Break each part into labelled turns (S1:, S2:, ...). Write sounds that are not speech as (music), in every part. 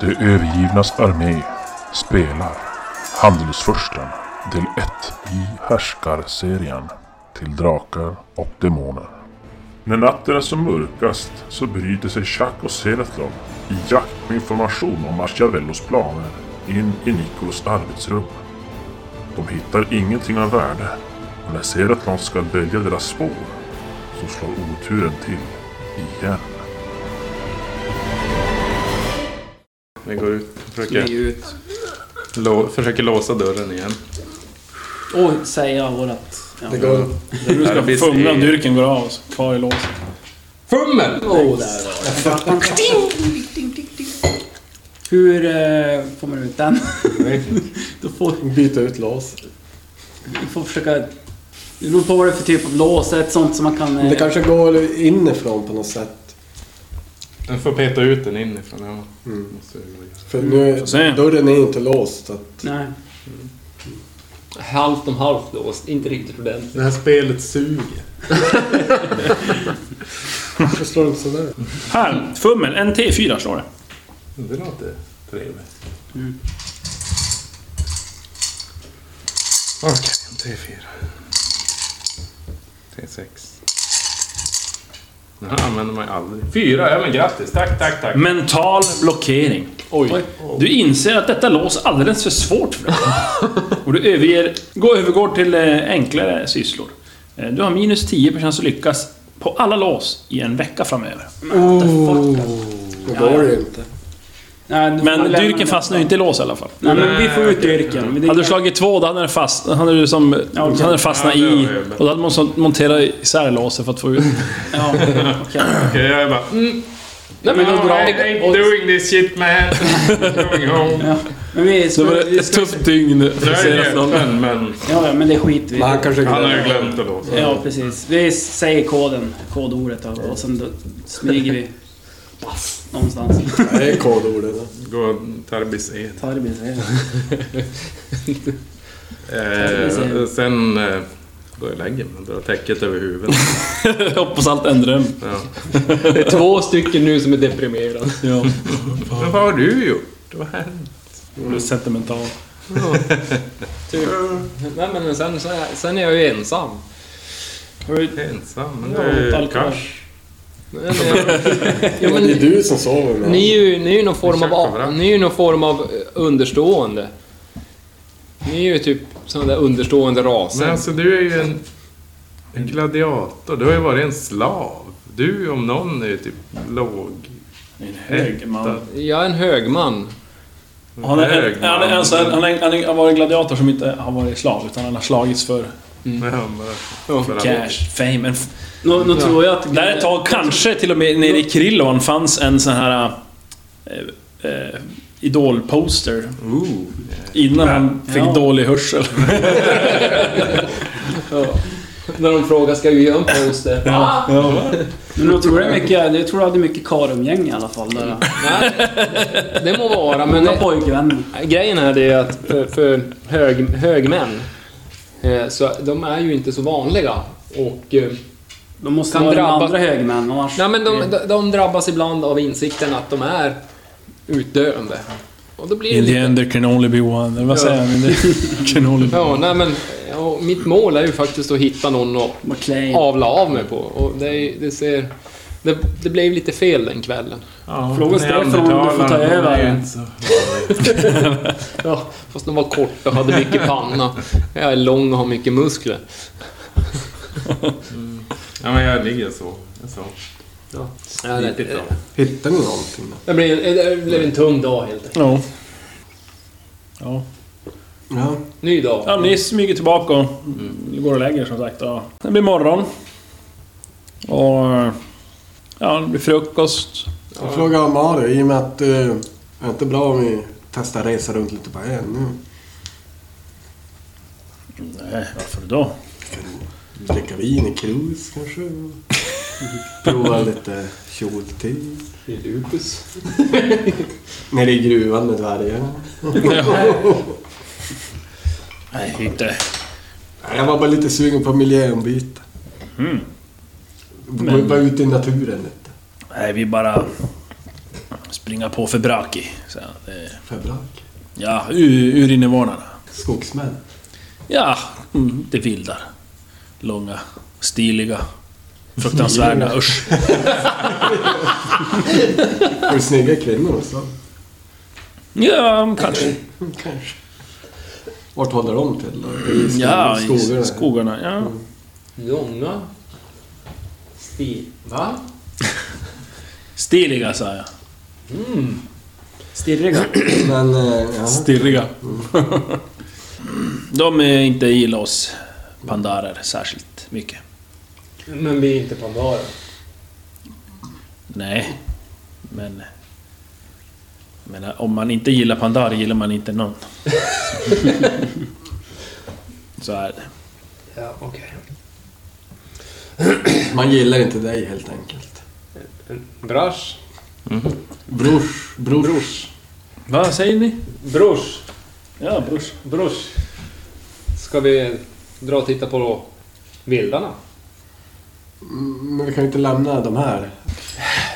S1: De övergivnas armé spelar Handelsfursten del 1 i Härskarserien till Drakar och Demoner. När natten är som mörkast så bryter sig Chuck och Seretlov i jakt på information om Machiavellos planer in i Nikolos arbetsrum. De hittar ingenting av värde och när Seretlov ska dölja deras spår så slår oturen till igen.
S2: Vi går ut och
S3: Smyg
S2: försöker,
S3: ut.
S2: lå, försöker låsa dörren igen.
S3: Och säga vårat... Ja.
S4: Det går...
S5: Du
S2: Här
S5: ska
S2: finns
S5: fumla
S2: det-
S5: om dyrken går av, så kvar i låset.
S4: Fummel!
S3: Oh, där var det. Ding, ding, ding, ding. Hur eh, får man ut den? (laughs) Då får
S4: Byta ut lås.
S3: vi får försöka... Det beror på vad det är för typ av lås, ett sånt som man kan... eh,
S4: Det kanske går inifrån på något sätt.
S2: Den får peta ut den inifrån. Ja.
S4: Mm.
S2: Måste jag gå igen.
S4: För nu...
S5: får se.
S4: Dörren är inte låst. Så att,
S3: Nej.
S6: Halvt om halvt låst, inte riktigt ordentligt.
S2: Det här spelet suger.
S4: (laughs) varför slår du inte sådär?
S5: Här! Fummel! En T4 slår det.
S2: Det låter trevligt. Okej, en T4. T6. Den här använder man ju aldrig. Fyra, ja men grattis. Tack, tack, tack.
S5: Mm. Mental blockering.
S3: Oj.
S5: Du inser att detta lås är alldeles för svårt (laughs) för dig. Och du överger, går, övergår till eh, enklare sysslor. Eh, Du har minus 10 chans att lyckas på alla lås i en vecka framöver.
S2: Mm.
S4: Då går det ju inte.
S3: Nej, då får man
S5: Men
S3: lämna
S5: dyrken
S3: den.
S5: fastnar ju inte i lås i alla fall.
S3: Nej, men vi får ut dyrken. Men det-
S5: Hade du slagit två, då hade den fast, hade du som,
S3: okej.
S5: hade den fastnat
S2: Ja, det var
S5: i...
S2: ju-
S5: Och då hade man så- monterat isär låset för att få ut...
S3: Ja, okej.
S2: Okej, jag är bara... Mm.
S6: Nej men
S2: no,
S6: vad bra.
S2: I ain't doing this shit man. I'm going home.
S3: Ja. Men vi...
S5: Det var
S3: vi
S5: ett
S3: ska,
S5: tufft dygn
S2: Nu
S5: för
S2: är det
S5: senast (laughs) någon.
S2: öppen, men
S3: ja, ja, men det skiter vi
S4: Men han kanske
S2: han har ju
S4: glömmer.
S2: glömt att låsa.
S3: Ja, precis. Vi säger koden, kodordet och, och sen då smyger vi. Någonstans.
S4: Det är kodordet.
S2: Gå Tarbis E.
S3: Tarbis, ja.
S2: Eh, sen eh, går jag och lägger mig och drar täcket över huvudet.
S5: Hoppas allt är en dröm.
S2: Ja.
S6: Det är två stycken nu som är deprimerade.
S5: Ja,
S2: Men vad har du gjort? Vad hände?
S5: du är sentimental.
S6: Typ. Nej men sen, så är- sen är jag ju ensam.
S2: Du är ensam. Men du är ju kars.
S6: Men, eh, (laughs) ja,
S4: (laughs) Det är
S6: men,
S4: du som sover med
S6: ni är ju, ni är ju någon form av,
S2: Ursäkta, va?
S6: a- ni är ju någon form av eh, understående. Ni är ju typ sådana där understående
S2: Men
S6: raser.
S2: alltså du är ju en, en gladiator. Du har ju varit en slav. Du om någon är ju typ Mm. låg.
S5: En hög man.
S6: Jag är en högman.
S5: Han, är,
S2: Hög
S5: han, är, alltså, han, är, han är- har varit gladiator som inte har varit slav, utan han har slagits för
S2: Ja, bara-
S6: Ja.
S2: för att-
S5: cash, fame. En f-
S3: Nu, nu tror jag att...
S5: Där ett tag, kanske till och med nere i Krillovan, fanns en sån här... Eh, eh, Idol-poster.
S2: Ooh.
S5: Innan han fick
S3: Ja.
S5: dålig hörsel.
S6: När de frågar ska vi göra en poster? Ja.
S3: Men nu tror jag mycket... Jag tror du hade mycket karumgäng i alla fall. Där.
S6: Det må vara Mm. men... eh,
S3: Många pojkvänner.
S6: Grejen här det är att för, för hög, högmän, eh, så de är ju inte så vanliga. Och, eh,
S3: De måste
S6: Kan
S3: vara de
S6: drabba-
S3: andra högmän annars...
S6: nej, men de, de- de drabbas ibland av insikten att de är utdöende. Och då blir det
S5: In the
S6: lite,
S5: end there can only be one. Eller Vad säger han? In the- Can only be
S6: ja, nej, men, ja, mitt mål är ju faktiskt att hitta någon att
S3: McLean.
S6: avla av mig på. Och det, är- det, ser, det, det blev lite fel den kvällen.
S2: Ja,
S3: Fråga Stefan om du får ta
S2: neandertalarna, de är ju
S3: över.
S2: inte så-
S6: Ja, fast de var korta och hade mycket panna. Jag är lång och har mycket muskler.
S2: Ja, men jag ligger så. Jag så.
S6: Ja, det,
S2: Riktigt bra.
S4: Hittar ni någonting då?
S6: det, blev, det blev en tung dag helt enkelt.
S5: Ja. Ja.
S4: Ja.
S6: Ny dag.
S5: ja, ni smyger tillbaka och går och lägger er, som sagt. Ja. Det blir morgon. Och... Ja, det blir frukost.
S4: Jag frågar Mario i och med att det är inte bra om vi testar resa runt lite på ön nu.
S5: Nej, varför (laughs) då?
S4: Dricka vin i krus
S6: (laughs)
S4: kanske. Prova lite kjolte.
S6: I Lupus.
S4: (laughs) Nere i gruvan med dvärgarna.
S5: Nej, inte...
S4: Nej, Jag var bara lite sugen på miljöombyte.
S5: Mm.
S4: Gå bara ut i naturen lite.
S5: Nej, vi bara... springa på för Braki. Så, eh,
S4: Febrak.
S5: ja, u- urinnevånarna.
S4: Skogsmän.
S5: Ja, mm, det vildar. Långa, stiliga, (laughs) fruktansvärda, usch.
S4: Och snygga kvinnor också.
S6: Mm,
S5: Ja, kanske.
S4: Kanske. Vart håller de till då? I skog,
S5: Mm, Ja, i
S4: skogarna?
S5: skogarna. Mm. Ja.
S6: Långa... Sti... Va?
S5: Stiliga, sa jag.
S3: Stirriga.
S4: Men, eh, ja.
S5: Stirriga. (laughs) De är inte gillar oss pandarer särskilt mycket.
S6: Men vi är inte pandarer.
S5: Nej, men... Jag menar, om man inte gillar pandarer gillar man inte (laughs) någon. Så är det.
S6: Ja, okej.
S4: Man gillar inte dig helt enkelt.
S6: Brash.
S4: Brors. Brors. brors.
S5: Vad säger ni?
S6: Brors.
S5: Ja, brors.
S6: Brors. Ska vi dra och titta på vildarna?
S4: Men vi kan ju inte lämna de här.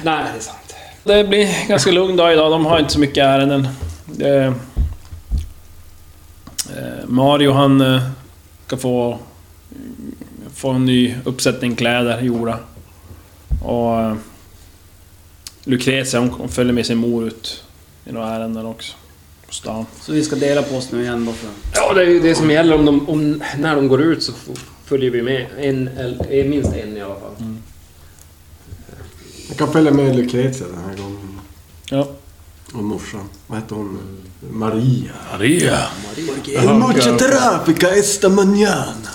S6: Nej, det är sant.
S5: Det blir ganska lugn dag idag. De har inte så mycket ärenden. Det, eh, Mario han eh, ska få, få en ny uppsättning kläder gjorda. Och eh, Lucrezia hon hon följer med sin mor ut i några ärenden också. På stan.
S3: Så vi ska dela på oss nu igen då. För...
S6: Ja, det är ju det som gäller. Om de, om, när de går ut så f- följer vi med. En, eller- eh, minst en i alla fall.
S4: Jag kan följa med Lucrezia den här gången.
S5: Ja.
S4: Och morsan. Vad hette hon? Maria.
S5: Maria!
S4: Mucha terapica esta mañana.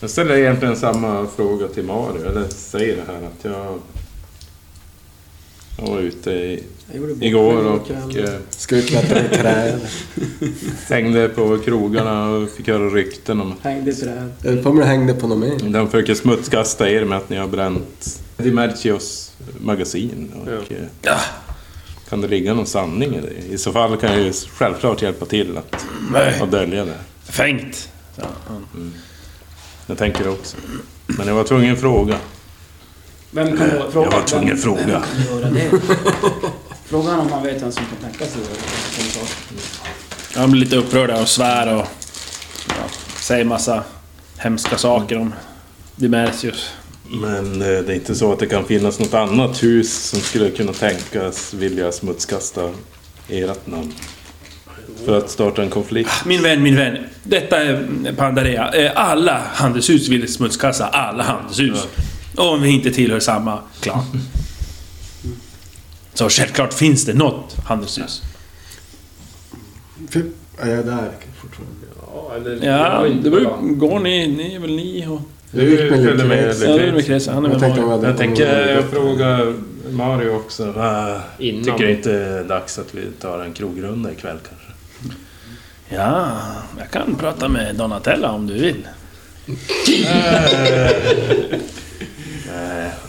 S2: Jag ställer egentligen samma fråga till Mario. Eller säger det här att jag... Jag var ute i, igår och eh,
S4: Ska vi klättra i träd?
S2: hängde på krogarna och fick höra rykten om...
S3: Hängde i träd.
S4: (laughs) Jag på om det hängde på något mer.
S2: De försöker smutskasta er med att ni har bränt Dimercios magasin. Och, eh, Kan det ligga någon sanning i det? I så fall kan jag ju självklart hjälpa till att,
S5: Nej.
S2: att dölja det.
S5: Fängt! Så han-
S2: Jag tänker det också. Men jag var tvungen att fråga.
S3: Vem kan då,
S2: Jag var tvungen att fråga. (laughs)
S3: göra det? Frågan om man vet vem som kan tänka sig att göra det. som sagt.
S5: Han blir lite upprörd där och svär och ja, säger massa hemska saker om Dimersius.
S2: Men eh, det är inte så att det kan finnas något annat hus som skulle kunna tänkas vilja smutskasta ert namn. För att starta en konflikt.
S5: Min vän, min vän. Detta är Pandarea. Eh, Alla handelshus vill smutskassa alla handelshus. Om vi inte tillhör samma klan. Så självklart finns det något handelshus.
S4: Fy- Typ. Ja, jag är där fortfarande.
S6: Ja, eller...
S5: Ja, det beror, går ni... Ni är väl ni och...
S4: Jag gick med
S2: följde med
S4: Lucrezia.
S5: Ja, det är väl Kresa. Han är
S4: Jag
S5: väl
S4: tänkte om
S5: Mario.
S4: hade-
S2: Jag tänker jag frågar Mario också. Va,
S6: Innan.
S2: Tycker inte det är dags att vi tar en krogrunda ikväll kanske?
S5: Ja, jag kan prata med Donatella om du vill.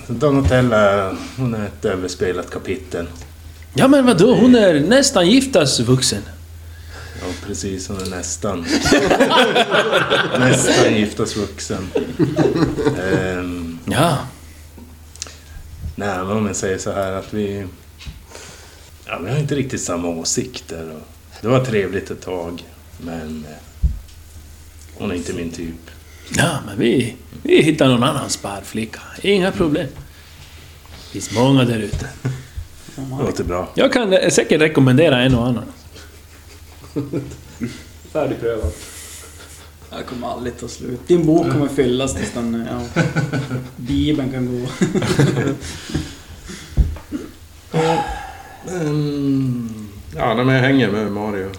S2: Donatella, hon är ett överspelat kapitel.
S5: Ja, men vadå? Hon är nästan giftasvuxen.
S2: Ja, precis. Hon är (laughs) nästan. nästan giftasvuxen. Ehm,
S5: Ja.
S2: Nej, men om jag säger så här att vi... Ja, vi har inte riktigt samma åsikter. Och det var trevligt ett tag, men... eh, Hon är inte min typ.
S5: Ja, men vi, vi hittar någon annan sparflicka. Inga problem. Det finns många där ute.
S2: Det låter bra.
S5: Jag kan eh, säkert rekommendera en och annan.
S6: Färdigprövat.
S3: Jag kommer aldrig ta slut. Din bok kommer fyllas tills den... (laughs) Ja. Bibeln kan gå.
S2: Ja, nej, men jag hänger med Mario.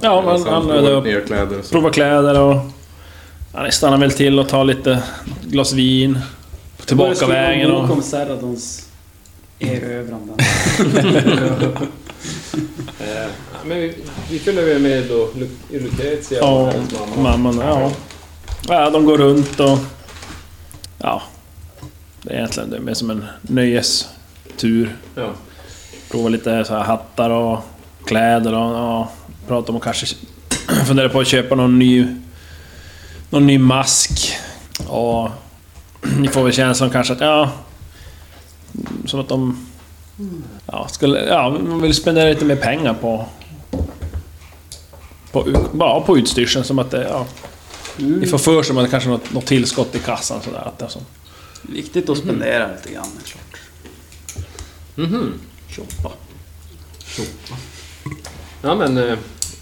S5: Ja, men han- han-
S2: Får nya kläder och så.
S5: Prova kläder och... Ja, ni stannar väl till och tar lite glas vin. På tillbakavägen
S3: och...
S5: och...
S3: kom Serradons erövranden.
S6: Eh, men vi, vi följer väl med då Lu- Lucrezia
S5: Ja,
S6: hennes mamma.
S5: mamman. Ja. ja, de går runt och... Ja. Det är egentligen det är mer som en nöjestur.
S6: Ja.
S5: Prova lite så här hattar och kläder och... Ja, prata om att kanske... (clears throat) Fundera på att köpa någon ny... Någon ny mask. (clears throat) Och... Ni får väl känslan kanske att, ja... Som att de Ja, skulle, ja, man vill spendera lite mer pengar på... På, ut- bara på utstyrseln, som att det... Ja,
S3: Mm.
S5: Ni får för sig att det kanske är något, något tillskott i kassan sådär. Att det är så.
S3: Viktigt att spendera lite grann, det är klart.
S5: Shoppa.
S6: Ja, men eh,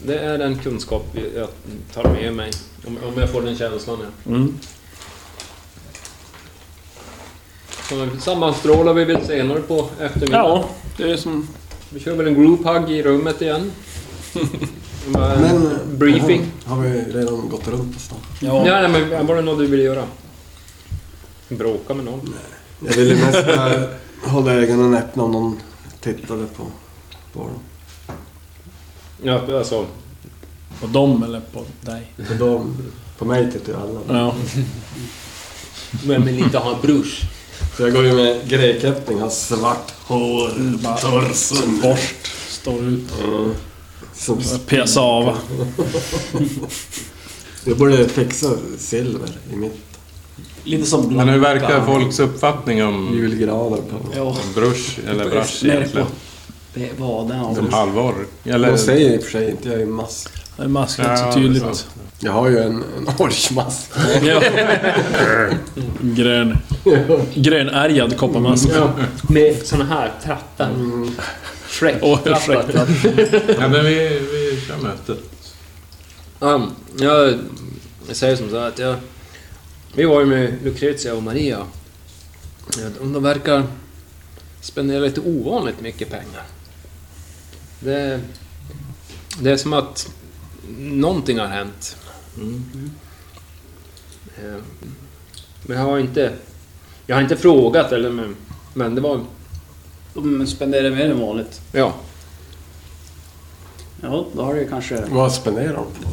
S6: det är en kunskap jag tar med mig. Om, om jag får den känslan. Ja.
S5: Mm.
S6: Så sammanstrålar vi väl senare på eftermiddagen.
S5: Ja, det är som...
S6: Vi kör väl en group hug i rummet igen. (laughs) Bara en
S4: Men,
S6: eh,
S4: eh,
S6: briefing.
S4: Har vi redan gått runt och sånt?
S5: Ja.
S6: Ja, nej, men var det något du ville göra? Bråka med någon?
S4: Jag ville mest bara (laughs) hålla ögonen öppna om någon tittade på, på dem.
S6: Ja, alltså...
S5: På dem eller på dig.
S4: På, dem, på mig tittar ju alla.
S5: Ja.
S6: Vem vill inte ha en brors?
S4: Så jag går ju med grejkläppning, har svart hår, torsen.
S5: Borst. Står ut.
S4: Som,
S5: Pesa av.
S4: jag borde fixa silver i mitt
S3: Lite som
S7: Men
S3: blanka.
S7: hur verkar folks uppfattning om
S4: julgranar på.
S3: Ja,
S7: brush eller brash
S3: Nej,
S7: egentligen?
S3: det var den.
S7: Som
S3: alltså.
S7: halvor? Eller...
S4: De säger i och för sig inte, jag är mask.
S5: Det är masken
S7: Ja,
S5: inte
S7: det
S5: så
S7: är
S5: tydligt.
S7: sant.
S4: Jag har ju en, en (laughs) orchmask.
S5: (laughs) Ja. Grön. Grönärgad kopparmask.
S6: Med såna här trattar.
S5: Och ursäkta.
S7: Ja, men vi, vi kör mötet.
S6: Ja, jag, jag säger som så här att jag... Vi var ju med Lucrezia och Maria. Ja, De de verkar spendera lite ovanligt mycket pengar. Det, det är som att någonting har hänt. Eh, Men jag har inte... Jag har inte frågat eller men, men det var...
S3: De spenderar mer än vanligt.
S6: Ja.
S3: Ja, då har det ju kanske...
S4: Vad spenderar de på?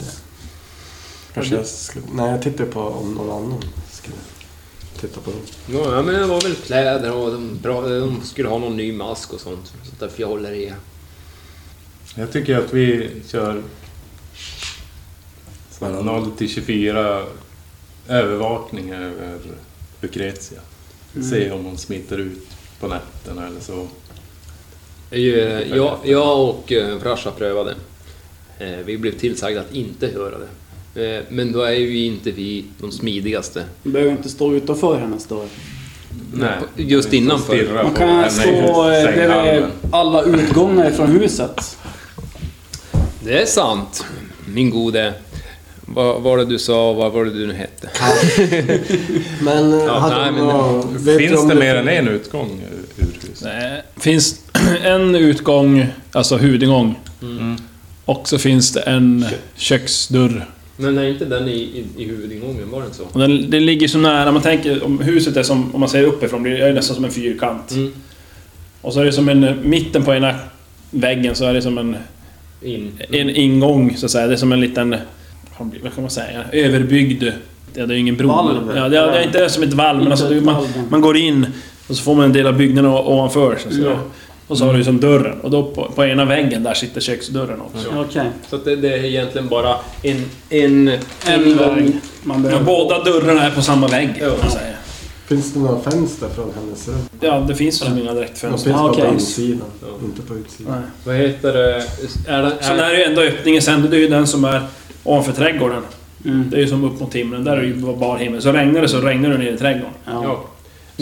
S4: Kanske jag skulle... Nej, jag tittar på om någon annan skulle titta på dem.
S6: Ja, men det var väl kläder och de, bra, de skulle ha någon ny mask och sånt. Så därför jag håller i.
S7: Jag tycker att vi kör sådana 0 till 24 övervakningar över Lucretia. Se om hon smiter ut på nätterna eller så.
S6: Eh, Jag, jag och eh, Frasha prövade. Eh, Vi blev tillsagda att inte höra det. Eh, Men då är ju inte vi de smidigaste.
S3: De behöver inte stå utanför hennes dörr.
S7: Nej,
S6: Just innanför.
S7: stirra
S3: Man
S7: på
S3: kan
S7: henne i
S3: stå eh, bredvid
S7: sänghalmen.
S3: alla utgångar från huset.
S6: Det är sant, min gode. Vad var det du sa och vad var det du nu hette?
S4: Men eh,
S6: Ja,
S4: hade
S6: nej,
S4: de
S6: men-
S4: någon- vet du
S7: Finns
S4: om
S7: det mer än en utgång ur huset?
S5: Nej, Eh, finns (clears throat) en utgång, alltså huvudingång. Och så finns det en köksdörr.
S6: Men är inte den i, i, i huvudingången? Var den så?
S5: Och den, det ligger så nära, man tänker om huset är som, om man ser uppifrån, det är ju nästan som en fyrkant.
S6: Mm.
S5: Och så är det som en, mitten på ena väggen så är det som en,
S6: In.
S5: en ingång så att säga. Det är som en liten, vad kan man säga, överbyggd... Ja, det är ju ingen bro.
S3: Valv.
S5: men- Ja, det, är, det är inte som ett valv, men
S3: Inte
S5: alltså, det är ju-
S3: ett
S5: man,
S3: valv.
S5: man går in och så får man en del av byggnaden o- ovanför. Så att säga. Och så har du ju som dörren. Och då på, på ena väggen där sitter köksdörren också.
S3: Okej.
S6: Så att det, det är egentligen bara en... en
S3: En gång. Man
S5: Mm. Ja,
S3: behöver...
S5: båda dörrarna är på samma vägg kan man säga.
S4: Finns det några fönster från hennes rum?
S5: Ja, det finns väl inga
S4: De finns
S5: direktfönster.
S4: bara
S3: okej.
S4: på insidan, inte på utsidan.
S5: Nej.
S6: vad heter det? Är den,
S5: Sen är
S6: är,
S5: det ju ändå öppningen sen, det är ju den som är ovanför trädgården.
S3: Mm.
S5: Det är ju som upp mot himlen, där är det ju bar himmel. Så regnar det så regnar det ner i trädgården.
S3: Ja.
S6: ja.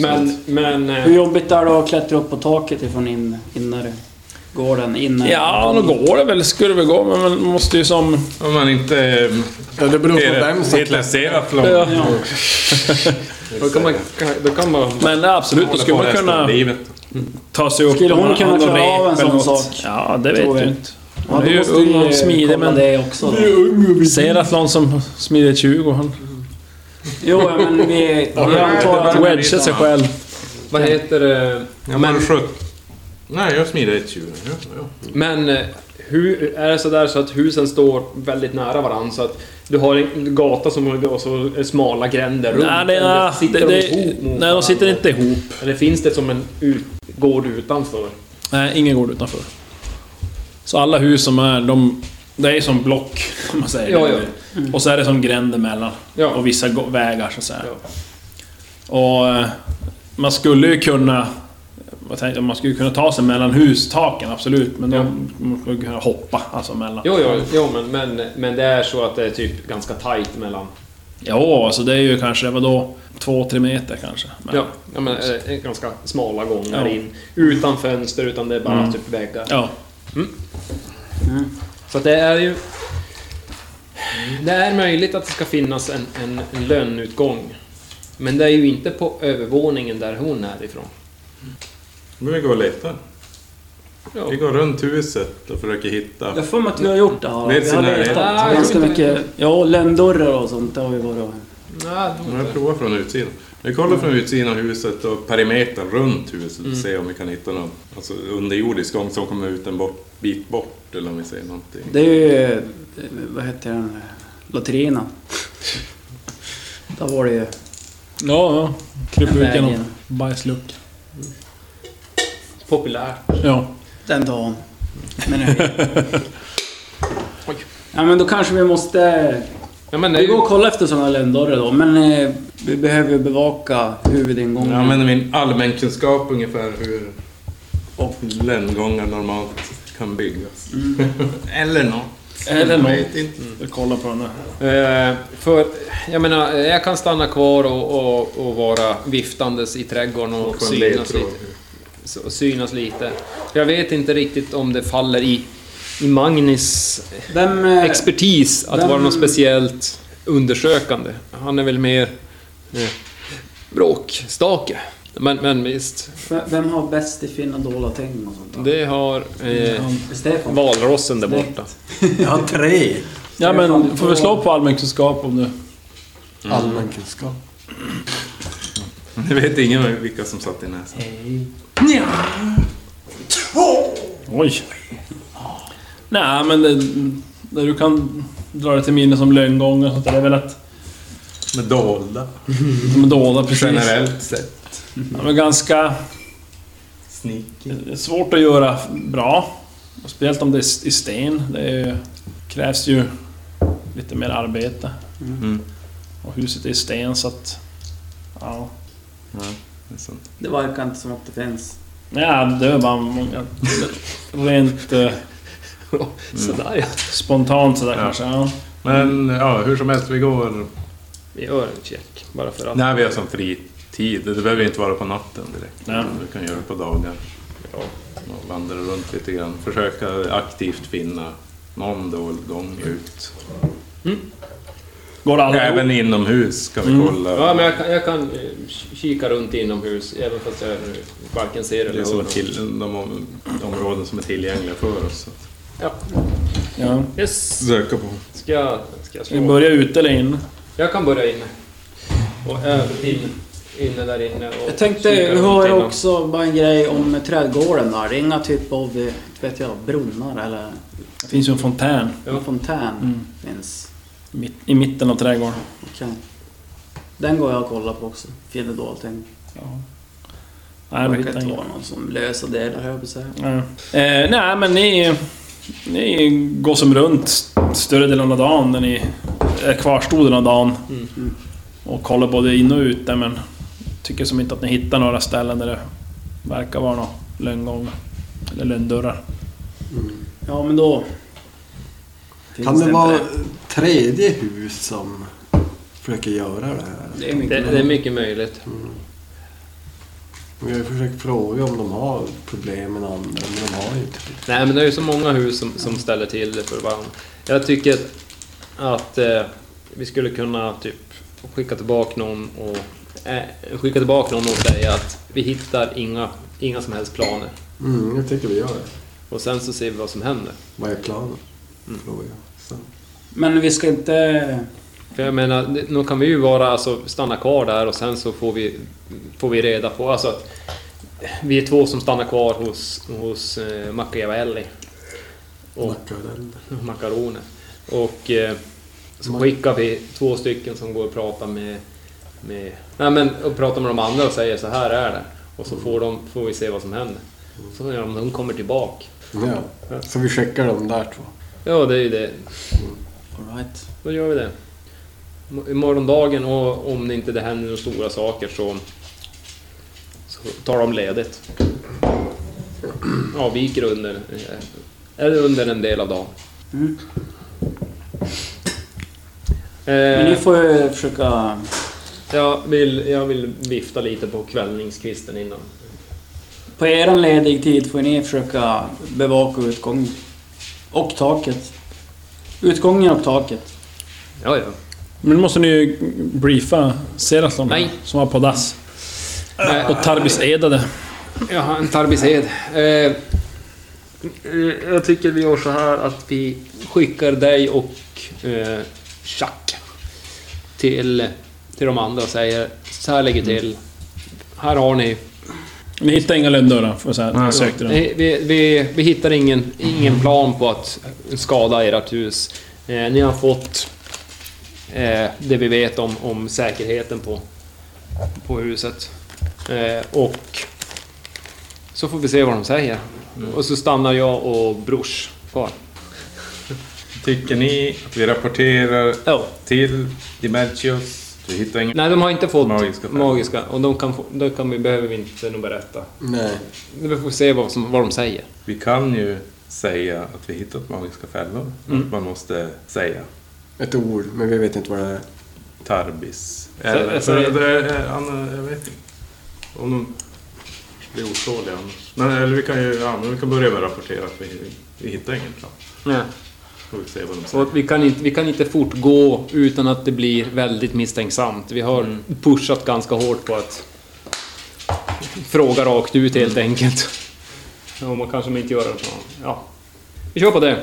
S6: Men... men eh,
S3: Hur jobbigt är det att klättra upp på taket ifrån in, inner... Gården, inner...
S5: Ja, då går det väl. Skulle det väl gå, men man måste ju som...
S7: Om man inte eh,
S4: Ja, det beror på vem
S7: är
S4: som...
S7: placerat långt.
S5: Ja.
S3: Ja.
S6: då kan man... kan- Då kan man
S5: Men absolut, då
S7: Håller
S5: skulle
S7: på
S5: man
S7: resten av
S5: kunna
S7: livet.
S5: ta sig upp...
S3: Skulle hon
S5: och
S3: kunna
S5: någon
S3: klara av
S5: rep
S3: en sån
S5: eller något.
S3: sak?
S5: Ja, det vet
S3: Tror
S5: du
S3: vi.
S5: inte.
S3: Ja,
S5: Hon är
S3: då
S5: ju
S3: måste vi
S5: ung och smidig,
S3: kolla
S5: men...
S3: det också då.
S5: Ser att någon som smidigt 20, han
S3: Jo,
S8: (laughs)
S3: men vi... Jag antar att...
S5: wedgar sig själv.
S6: Vad heter det?
S7: Ja, men sjut... Nej, jag smider ett tjur. Ja, ja.
S6: Men eh, hur är det sådär så att husen står väldigt nära varandra så att du har en gata som har så smala gränder runt?
S5: Nej, det,
S6: eller
S5: ja, det,
S6: sitter de
S5: det,
S6: ihop mot
S5: nej, de sitter
S6: varandra?
S5: inte ihop.
S6: Eller finns det som en ut, gård utanför?
S5: Nej, ingen gård utanför. Så alla hus som är, de... Det är som block, (laughs) om man säger.
S6: Ja, ja.
S5: Och så är det som gränd emellan.
S6: Ja.
S5: Och vissa gå- vägar, så att säga.
S6: Ja.
S5: Och eh, man skulle ju kunna... Jag tänkte, man skulle kunna ta sig mellan hustaken, absolut. Men då man skulle kunna hoppa, alltså mellan.
S6: Jo, jo, jo men, men, men det är så att det är typ ganska tajt mellan...
S5: Jo, alltså det är ju kanske, vadå? Två, tre meter kanske. Men,
S6: Ja, ja men eh, ganska smala gångar
S5: Ja.
S6: in. Utan fönster, utan det är bara
S5: Mm.
S6: typ väggar.
S5: ja.
S6: Så att det är ju... Det är möjligt att det ska finnas en, en, en lönnutgång. Men det är ju inte på övervåningen där hon är ifrån.
S2: Men vi går och letar.
S6: Ja.
S2: Vi går runt huset och försöker hitta.
S8: Jag får mig att vi har gjort det.
S2: Det är
S8: vi har
S2: scenario.
S8: letat
S6: Ah,
S8: ganska
S6: inte-
S8: mycket. Ja, lönndörrar och sånt det har vi varit och...
S6: Nej, det var
S2: Men jag
S6: inte.
S2: provar från utsidan. Vi kollar från utsidan av huset och perimetern runt huset
S6: Mm.
S2: och ser om vi kan hitta någon alltså, underjordisk gång som kommer ut en bort, bit bort eller om vi ser någonting.
S8: Det är ju... eh, Vad heter den? Lotterierna. Där var det ju...
S5: Ja, ja. Krypa ut
S8: Vägen.
S5: genom bajsluck.
S6: Populärt.
S5: Ja.
S8: Den dagen. Men Ja men då kanske vi måste...
S6: Ja, men det är
S8: Vi går
S6: ju...
S8: och kollar efter sådana lönndörrar då, men eh, vi behöver ju bevaka huvudingången.
S2: Jag använder min allmänkunskap ungefär hur
S8: Och-
S2: lönngångar normalt kan byggas.
S6: Mm.
S2: eller något.
S5: Eller
S2: Vet
S5: något.
S2: inte.
S5: Jag kollar på den där.
S6: Eh, för, jag menar, eh, jag kan stanna kvar och, och, och vara viftandes i trädgården och,
S2: Få en
S6: synas
S2: ledtråd.
S6: lite.
S2: (laughs)
S6: Så- Och synas lite. Jag vet inte riktigt om det faller i, i Magnis
S8: Vem... eh,
S6: expertis att
S8: vem-
S6: vara något speciellt undersökande. Han är väl mer eh, bråkstake. Men, men visst,
S8: v- Vem har bäst i finna dolda ting och sånt? Mm.
S6: det har eh,
S8: Stefan?
S6: valrossen där borta.
S4: Jag har tre.
S5: Ja, men får vi slå på allmänkunskap om du...
S4: Allmän kunskap.
S2: Det vet ingen vilka som satt i näsan.
S5: Oj! Nej, men det, det du kan dra dig till minne som lönngång och sånt där, det är väl att...
S2: Med dolda.
S5: Som är dolda precis.
S2: Generellt sett.
S5: Ja, men ganska
S2: Sneaky.
S5: svårt att göra bra. Och speciellt om det är i sten. Det är, ju- krävs ju lite mer arbete.
S6: Mm-hmm.
S2: Mm.
S5: Och huset är i sten så att... Ja.
S2: Det är sant.
S8: Det verkar inte som att det finns.
S5: Ja, det är bara många... Rent
S6: (laughs)
S5: eh,
S6: Sådär ja.
S5: spontant sådär
S2: Ja.
S5: kanske. Ja.
S2: Men ja, hur som helst, vi går...
S6: Vi gör en check bara för att.
S2: När vi har som fritid. Det behöver inte vara på natten direkt.
S5: Nej.
S2: Du kan göra det på dagar. Ja. Och vandra runt lite grann. Försöka aktivt finna någon dold gång ut.
S5: Går alla ihop?
S2: Även inomhus ska vi kolla.
S6: Mm. Ja, men jag kan, jag kan eh, k- kika runt inomhus även fast jag eh, varken ser
S2: Det
S6: eller
S2: är som
S6: hör.
S2: till, de om- områden som är tillgängliga för oss. att
S6: Ja.
S5: Ja.
S6: Yes.
S2: Söka på.
S6: Ska jag, ska jag
S5: Ska vi
S6: slå?
S5: börja ute eller in?
S6: Jag kan börja inne. Och även in, inne där inne. Och
S8: Jag tänkte,
S6: kika
S8: vi
S6: runt
S8: har
S6: inom-
S8: också bara en grej om trädgården där. Det är inga typ av, eh, vet jag, brunnar eller
S5: Det finns ju en fontän
S8: en fontän
S5: Mm.
S8: finns.
S5: mitt, i mitten av trädgården.
S8: Okej. Den går jag och kollar på också. Finner dold ting.
S5: Nej,
S8: Det
S5: vi
S8: verkar
S5: hittar
S8: inte
S5: inget.
S8: vara någon som löser det där, höll jag på att säga.
S5: Nej. Eh, nej, men ni, ni går som runt st- större delen av dagen när ni är kvarstoden av dagen.
S8: Mm.
S5: Och kollar både in och ute, men tycker som inte att ni hittar några ställen där det verkar vara några lönngångar. Eller lönndörrar.
S8: Mm. Ja, men då... finns
S4: Kan det
S8: inte
S4: vara
S8: det.
S4: tredje hus som försöker göra det här?
S8: Det är mycket
S6: Det, det är mycket möjligt.
S4: Vi har ju försökt fråga om de har problem med andra, men de har ju inte det.
S6: Nej, men det är ju så många hus som, som ställer till det för varandra. Jag tycker att eh, vi skulle kunna typ skicka tillbaka någon och eh, skicka tillbaka någon och säga att vi hittar inga, inga som helst planer.
S4: Mm, jag tycker vi gör det.
S6: Och sen så ser vi vad som händer.
S4: Vad är planen?
S2: Mm.
S4: Fråga. Så.
S8: Men vi ska inte...
S6: För jag menar, det- nu kan vi ju vara, alltså, stanna kvar där och sen så får vi, får vi reda på... Alltså, att vi är två som stannar kvar hos, hos eh, Machiavelli. Och,
S4: Mackadell.
S6: makaroner. Och eh, så
S4: Ma-
S6: skickar vi två stycken som går och pratar med... med nej men, och pratar med de andra och säger så här är det. Och så får, de, får vi se vad som händer. Så när de, de kommer tillbaka.
S4: Ja. Så vi checkar de där två.
S6: Ja, det är ju det.
S8: All right.
S6: Då gör vi det. I morgondagen och om det inte det händer några stora saker så, så tar de ledigt. avviker under, eh, eller under en del av dagen. Mm.
S3: Men
S6: Eh,
S3: ni får ju försöka...
S6: jag, vill, jag vill vifta lite på kvällningskvisten innan.
S3: På eran ledig tid får ni försöka bevaka utgången. Och taket. Utgången och taket.
S6: Ja, ja.
S5: Men då måste ni ju briefa Seraslon
S6: Nej.
S5: som var på dass.
S6: Nej.
S5: Och Tarbis edade.
S6: Jag har en tarbised. Eh, jag tycker vi gör så här att vi skickar dig och eh, Chuck till, till de andra och säger så här lägger till. Här har ni.
S5: Ni hittar inga lönndörrar för så här, ni sökte den.
S6: Vi, vi, vi, vi hittar ingen, ingen plan på att skada ert hus. Eh, ni har fått eh, det vi vet om, om säkerheten på, på huset. Eh, och så får vi se vad de säger. Och så stannar jag och brors kvar.
S2: Tycker ni att vi rapporterar
S6: Ja.
S2: till Dimertius? Du hittar ingen...
S6: Nej, de har inte fått
S2: Magiska.
S6: magiska. och de kan få, de kan vi, behöver vi inte nog berätta.
S4: Nej.
S6: Vi får se vad, som, vad de säger.
S2: Vi kan ju säga att vi hittat magiska
S6: Mm.
S2: fällor. Man måste säga
S4: Ett ord, men vi vet inte vad det är.
S2: Tarbis.
S6: Så-
S2: Eller,
S6: så-
S2: eller, eller, Anna, eh, jag vet inte. Om de blir otåliga annars. Men, eller vi kan ju ja, men vi kan börja med att rapportera att vi, vi hittar ingen plan. Får vi se vad de säger.
S6: Och vi, kan inte, vi kan inte fortgå utan att det blir väldigt misstänksamt. Vi har pushat ganska hårt på att fråga rakt ut helt enkelt. Och man kanske inte gör det. så- Ja. Vi kör på det.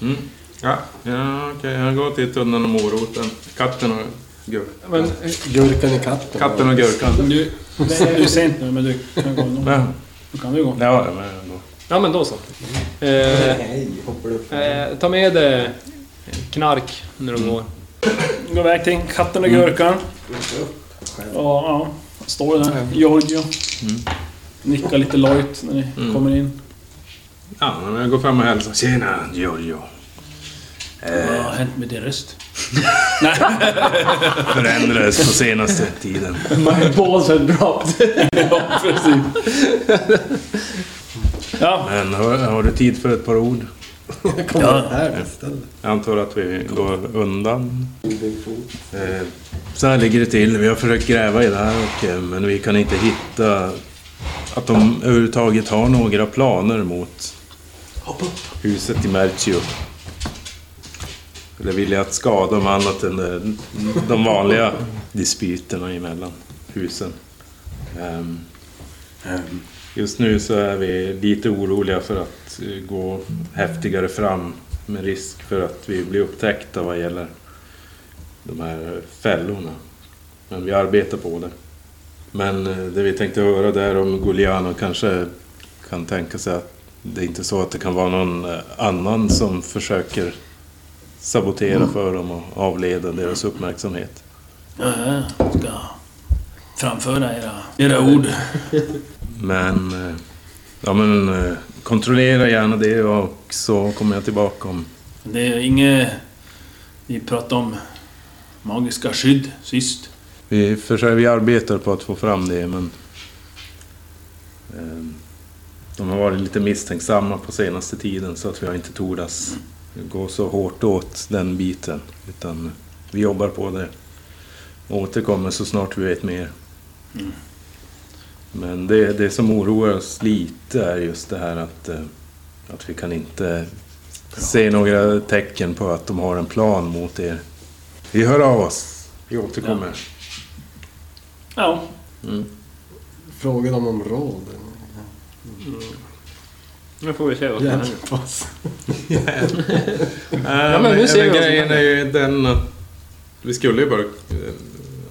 S2: Mm. Ja, ja okej. Jag går till tunnan och moroten. Katten och gur.
S6: Men,
S4: Gurkan i katten.
S2: Katten och gurkan.
S5: Du, det är ju sent nu, men du kan gå. ändå.
S2: Ja,
S5: Då kan du gå.
S2: ja, men ändå.
S6: ja, men då så. Eh,
S4: Nej, hoppar upp.
S6: eh, ta med eh, knark när du går.
S5: Gå iväg till katten och gurkan. Mm. Ja, ja. Står ju där. Giorgio. Mm. Nickar lite lojt när ni
S6: Mm.
S5: kommer in.
S2: Ja, men jag går fram och hälsar. Tjena, Giorgio.
S5: Vad har hänt med din
S6: (laughs)
S5: röst?
S2: Förändrades på senaste tiden.
S5: My balls have dropped. (laughs) ja, precis. Ja,
S2: Men har, har du tid för ett par ord?
S4: Kommer ja. här istället.
S2: Jag antar att vi går undan. Eh, Så här ligger det till. Vi har försökt gräva i det här och, eh, men vi kan inte hitta att de överhuvudtaget har några planer mot huset i Mertio. Eller vill jag att skada dem annat än eh, de vanliga dispyterna emellan husen. Ehm, Just nu så är vi lite oroliga för att eh, gå häftigare fram med risk för att vi blir upptäckta vad gäller de här fällorna. Men vi arbetar på det. Men eh, det vi tänkte höra där om Gugliano kanske kan tänka sig att det är inte så att det kan vara någon eh, annan som försöker sabotera för dem och avleda deras uppmärksamhet.
S5: jag ska framföra era, era ord.
S2: Men, eh, ja, men eh, kontrollera gärna det och så kommer jag tillbaka om
S5: Det är inget... Vi pratade om magiska skydd sist.
S2: Vi försöker, vi arbetar på att få fram det men... eh, De har varit lite misstänksamma på senaste tiden så att vi har inte tordas gå så hårt åt den biten. Utan vi jobbar på det. Och återkommer så snart vi vet mer. Men det, det som oroar oss lite är just det här att, eh, att vi kan inte se några tecken på att de har en plan mot er. Vi hör av oss. Vi återkommer.
S5: Ja,
S4: Fråga dem om råd.
S6: Nu får vi se vad som händer.
S4: Hjälp oss.
S2: Ja,
S6: men
S2: Eh, men
S6: nu ser vi vad som
S2: grejen
S6: händer.
S2: är ju den att vi skulle ju bara... eh,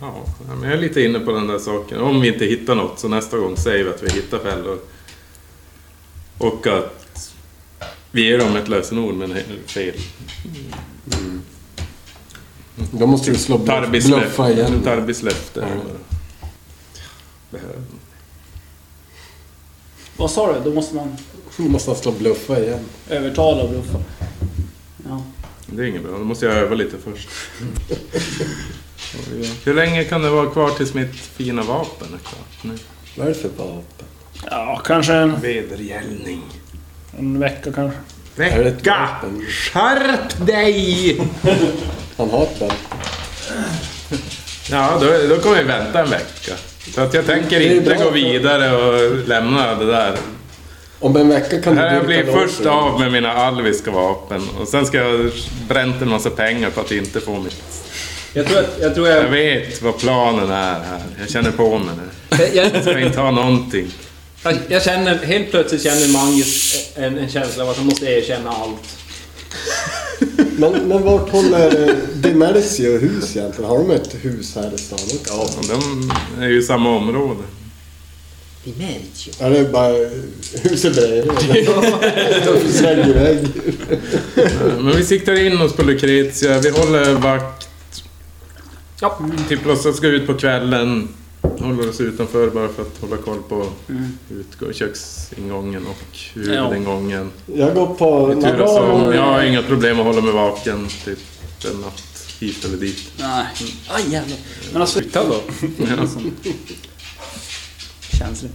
S2: Ja, ja, men jag är lite inne på den där saken. Om vi inte hittar något så nästa gång säger vi att vi hittar fällor. Och att vi ger dem ett lösenord men he- fel.
S4: De måste ju slå bluff,
S2: Tarbis
S4: bluffa
S2: löfte.
S4: igen.
S2: Tarbis löfte.
S4: Ja.
S2: Det här-
S3: Vad sa du? Då måste man
S4: De måste slå bluffa igen.
S3: övertala och bluffa. Ja.
S2: Det är inget bra. Då måste jag öva lite först. Hur länge kan det vara kvar tills mitt fina vapen är klart? Nu?
S4: Vad är det för vapen?
S5: Ja, kanske en,
S2: Vedergällning.
S5: en vecka kanske.
S4: är ett
S2: Vecka!
S4: vapen.
S2: Skärp dig!
S4: Han har ett band.
S2: Ja, då, då kommer vi vänta en vecka. Så att jag tänker inte gå vidare och lämna det där.
S4: Om en vecka kan du
S2: Här jag
S4: dyrka
S2: blir
S4: låser.
S2: först av med mina alviska vapen och sen ska jag bränt en massa pengar på att inte få mitt...
S6: Jag tror att, jag tror
S2: Jag
S6: jag...
S2: vet vad planen är här. Jag känner på mig det. Jag
S6: Jag,
S2: ska inte ha någonting.
S6: jag, jag känner, helt plötsligt känner Magnus en, en känsla av att han måste erkänna allt.
S4: Men, men vart håller eh, Demersio hus egentligen? Har de ett hus här i stan också?
S2: Och de är ju i samma område.
S4: Är det bara huset bredvid? Vägg i vägg.
S2: Men vi siktar in oss på Lucretia. Vi håller vakt.
S6: Ja.
S2: Typ låtsas gå ut på kvällen. Håller oss utanför bara för att hålla koll på utgå- köksingången och huvudingången.
S4: Jag går på
S2: Tur och så.
S4: Navarro.
S2: Jag har inga problem att hålla mig vaken typ en natt hit eller dit.
S3: Nej. Aj jävlar. Men alltså...
S6: Sluta då.
S2: Ja.
S3: Känsligt.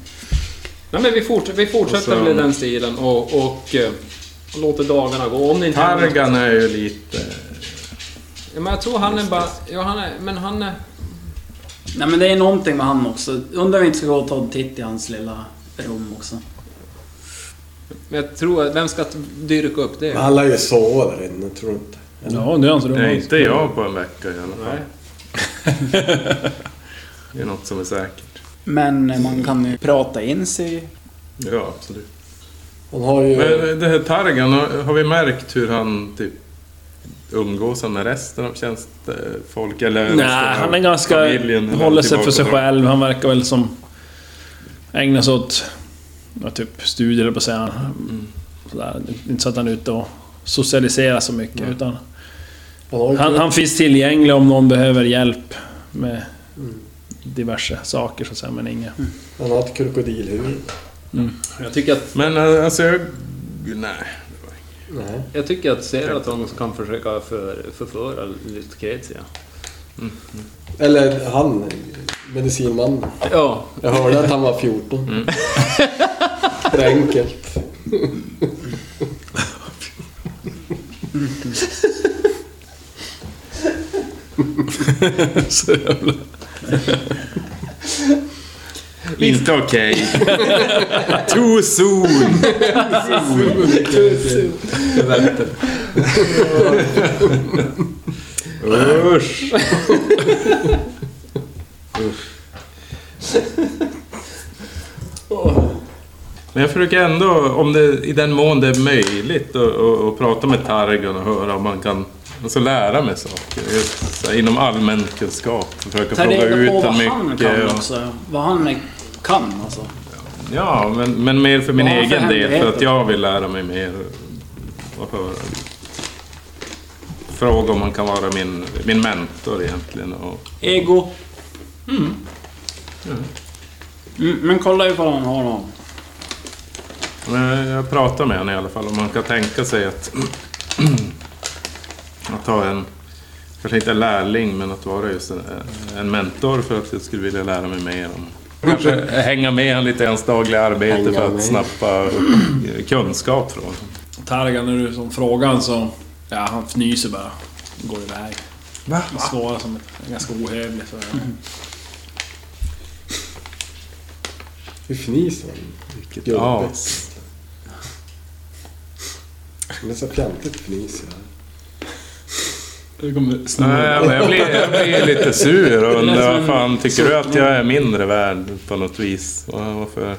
S6: Nej, men vi, fort, vi fortsätter
S2: Och så-
S6: med den stilen och, och, eh, låter dagarna gå. Om det inte händer
S2: Targan är ju lite...
S6: Ja, men jag tror han är bara... Ja, han är, men han är...
S3: Nej men det är någonting med han också. Undrar om vi inte ska gå och ta en titt i hans lilla rum också.
S6: Men jag tror... att- Vem ska dyrka upp det?
S4: Men Han lär ju sova där inne, tror du inte?
S5: Ja, det är hans rum.
S2: Nej, inte jag på en vecka i alla fall.
S6: Nej.
S2: Det är något som är säkert.
S3: Men eh, man kan ju prata in sig.
S2: Ja, absolut.
S4: Han har ju...
S2: Men det här Targan, har har vi märkt hur han typ umgås han med resten av tjänstefolk? Eller resten
S5: Nej,
S2: av
S5: han är ganska...
S2: familjen, eller
S5: håller sig för
S2: tillbaka
S5: sig
S2: och-
S5: själv. Han verkar väl som... Ägna sig åt... Ja, typ studier, eller på att säga. Sådär. Inte så att han är ute och socialiserar så mycket, utan...
S4: han har ju
S5: Han, han finns tillgänglig om någon behöver hjälp med diverse saker, så att säga, men inget...
S4: Han har ett krokodilhuvud.
S6: Jag tycker att...
S2: Men eh, alltså, jag... Nej.
S4: Nej.
S6: Jag tycker att Seraton kan försöka för, förföra lite Kretia.
S4: Eller han, medicinmannen.
S6: Ja.
S4: Jag hörde att han var 14. Det är enkelt.
S5: Så jävla...
S2: Inte okej. (laughs) Too soon! Usch! Men jag försöker ändå, om det, i den mån det är möjligt, att- att att prata med Targon och höra om man kan alltså lära mig saker. Just, så här, inom allmän kunskap. Försöka
S3: Ta
S2: fråga
S3: reda
S2: ut
S3: på vad
S2: honom
S3: han
S2: mycket.
S3: kan
S2: och-
S3: också. Vad han är- kan alltså.
S2: Ja, men, men mer för min
S3: Ja, för
S2: egen del. För
S3: hemligheter.
S2: att jag vill lära mig mer. Och höra. Fråga om man kan vara min, min mentor egentligen. Och,
S3: Ego. Mm, men kolla ifall han har någon.
S2: men jag pratar med honom i alla fall. Om man kan tänka sig att, (clears throat) att ha en, kanske inte en lärling, men att vara just en, en mentor. För att jag skulle vilja lära mig mer om. Kanske hänga med honom lite i hans dagliga arbete
S4: Hänga
S2: för att
S4: med.
S2: snappa kunskap från honom.
S5: Targan, när du som frågan så... Ja, han fnyser bara. Går iväg.
S2: Va?
S5: Han svarar som ett, ganska ohövlig. Så,
S4: Hur fnyser han?
S2: Vilket
S4: Jobbigt.
S2: as.
S4: Det är så fjantigt fnys. ja.
S5: Det kommer
S2: Nej, men jag, blir, jag blir lite sur och undrar
S3: Mm.
S2: vad fan, tycker du att jag är mindre värd på något vis? Vad- Varför?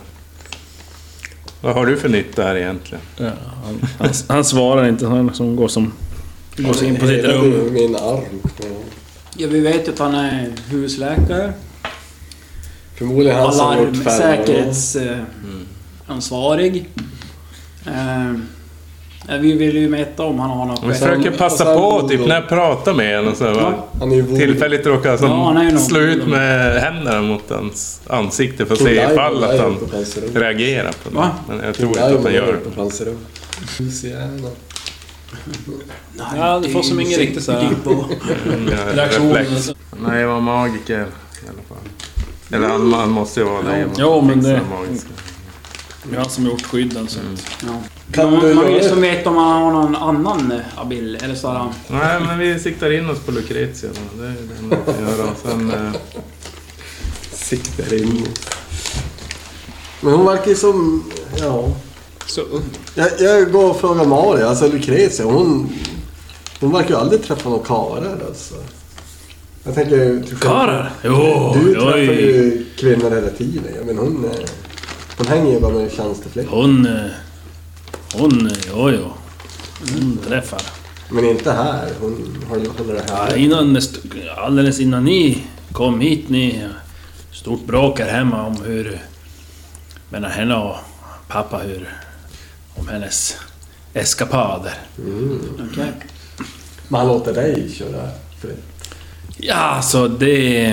S2: Vad har du för nytta här egentligen?
S5: Ja, han, han, han svarar inte, han liksom går som... Går så in på sitt
S4: Hela
S5: rum.
S4: Min arm. Ja.
S3: Ja, vi vet ju att han är husläkare.
S4: Förmodligen han som gjort färgerna.
S3: Alarmsäkerhetsansvarig. Eh, vi vill ju veta om han har något
S2: Jag
S3: själv.
S2: försöker passa på typ när jag pratar med henne. Så här, va?
S4: Han är ju vod-
S2: Tillfälligt råkar jag som
S3: Ja, han är ju nog-
S2: slå ut med händerna mot hans ansikte för att
S4: King
S2: se
S4: Diamond
S2: ifall
S4: är
S2: att han
S4: uppe på hans rum.
S2: reagerar på det.
S3: Va?
S2: Men jag tror
S4: King
S2: inte att han
S4: Diamond
S2: gör
S4: är
S2: det.
S4: uppe på hans rum. Husjävlar.
S5: Ja, du får som ingen riktigt såhär...
S2: Men jag-
S5: Reaktion.
S2: reflex. Nej, jag var magiker i alla fall. Eller han, han måste ju vara det.
S5: Ja, men det-
S2: Magiska.
S5: Det är han som har gjort skydden. Så. att-
S4: Kan
S3: man,
S4: du
S3: man vill
S4: göra-
S3: ju som veta om han har någon annan eh, abil, eller så har han...
S2: Nej, men vi siktar in oss på Lucretia då. Det är det enda vi kan göra. Sen... Eh, siktar in oss.
S4: Men hon verkar ju som... Ja.
S6: Så ung.
S4: Jag, jag går och frågar Maria, alltså Lucrezia. Hon, hon verkar ju aldrig träffa någon karlar alltså. Jag tänker... till skillnad-
S5: Karlar? Jo,
S4: Du träffar
S5: oj.
S4: ju kvinnor hela tiden. Jag menar hon... eh, Hon hänger ju bara med tjänstefläkt.
S5: Hon... eh, Hon... Jo, jo.
S4: Mm.
S5: Hon träffar.
S4: Men inte här. Hon håller, håller det
S5: Ja,
S4: här.
S5: Innan, med st- alldeles innan ni kom hit, ni... Stort bråk här hemma om hur... Mellan henne och pappa, hur... Om hennes eskapader.
S3: Okej.
S4: Men han låter dig köra fritt.
S5: Ja, så det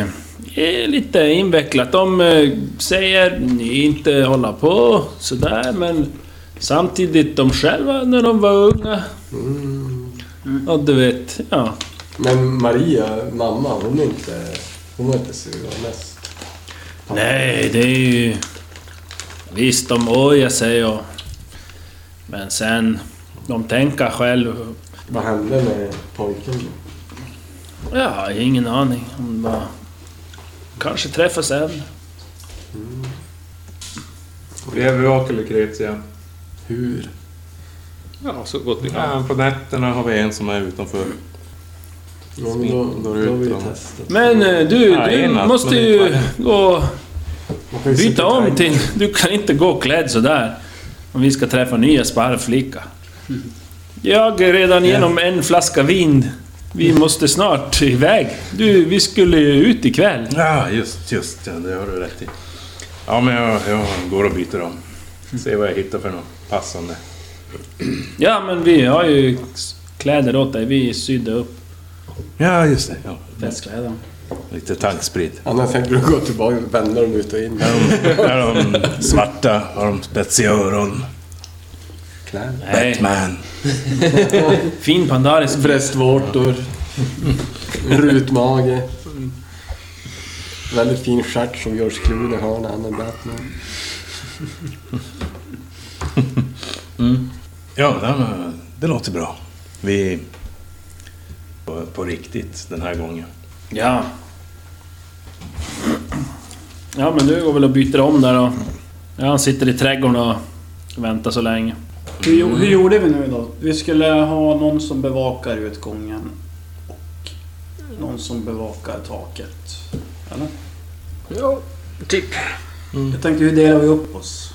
S5: är lite invecklat. De eh, säger ni inte hålla på sådär, men samtidigt de själva när de var unga. Ja, du vet. Ja.
S4: Men Maria, mamma, hon är inte... Hon var inte sugen mest.
S5: Nej, det är ju... Visst, de ojar sig och... Men sen... De tänker själv.
S4: Vad hände med pojken?
S5: Ja, jag har ingen aning. Hon bara... Kanske träffas än.
S2: Vi övervakar Lucretia.
S4: Hur?
S6: Ja, så gott vi kan.
S2: Ja, på nätterna har vi en som är utanför.
S4: Ja, men då, då har vi ju testat.
S5: Men eh, du,
S2: Ja,
S5: du
S2: en natt,
S5: måste
S2: men
S5: ju
S2: inte
S5: gå...
S4: Man kan ju
S5: Byta
S4: sitta
S5: om
S4: där.
S5: till... Du kan inte gå klädd sådär. Om vi ska träffa nya sparvflicka. Jag är redan genom en flaska vin. Vi måste snart iväg. Du, vi skulle ju ut ikväll.
S2: Ja, just, just ja, det har du rätt i. Ja, men jag, jag går och byter om. Se vad jag hittar för något passande.
S5: Ja, men vi har ju kläder åt dig. Vi sydde upp
S2: Ja, just det. Ja.
S3: Festkläder.
S2: Lite tanksprit.
S4: Annars tänker du gå tillbaka och vända dem ut och in.
S2: Där har de svarta, har de spetsiga öron.
S4: Kläder.
S5: Nej.
S2: Batman.
S5: fin pandarisk.
S4: Bröstvårtor. Rutmage. Väldigt fin stjärt som George Clooney har när han är Batman.
S2: Ja, nej, men det låter bra. Vi... På, på riktigt den här gången.
S5: Ja. Ja, men du går väl och byter om där och... Ja, han sitter i trädgården och väntar så länge.
S3: Hur, gjo- hur gjorde vi nu då? Vi skulle ha någon som bevakar utgången och någon som bevakar taket. Eller?
S6: Ja, typ.
S3: Jag tänkte, hur delar vi upp oss?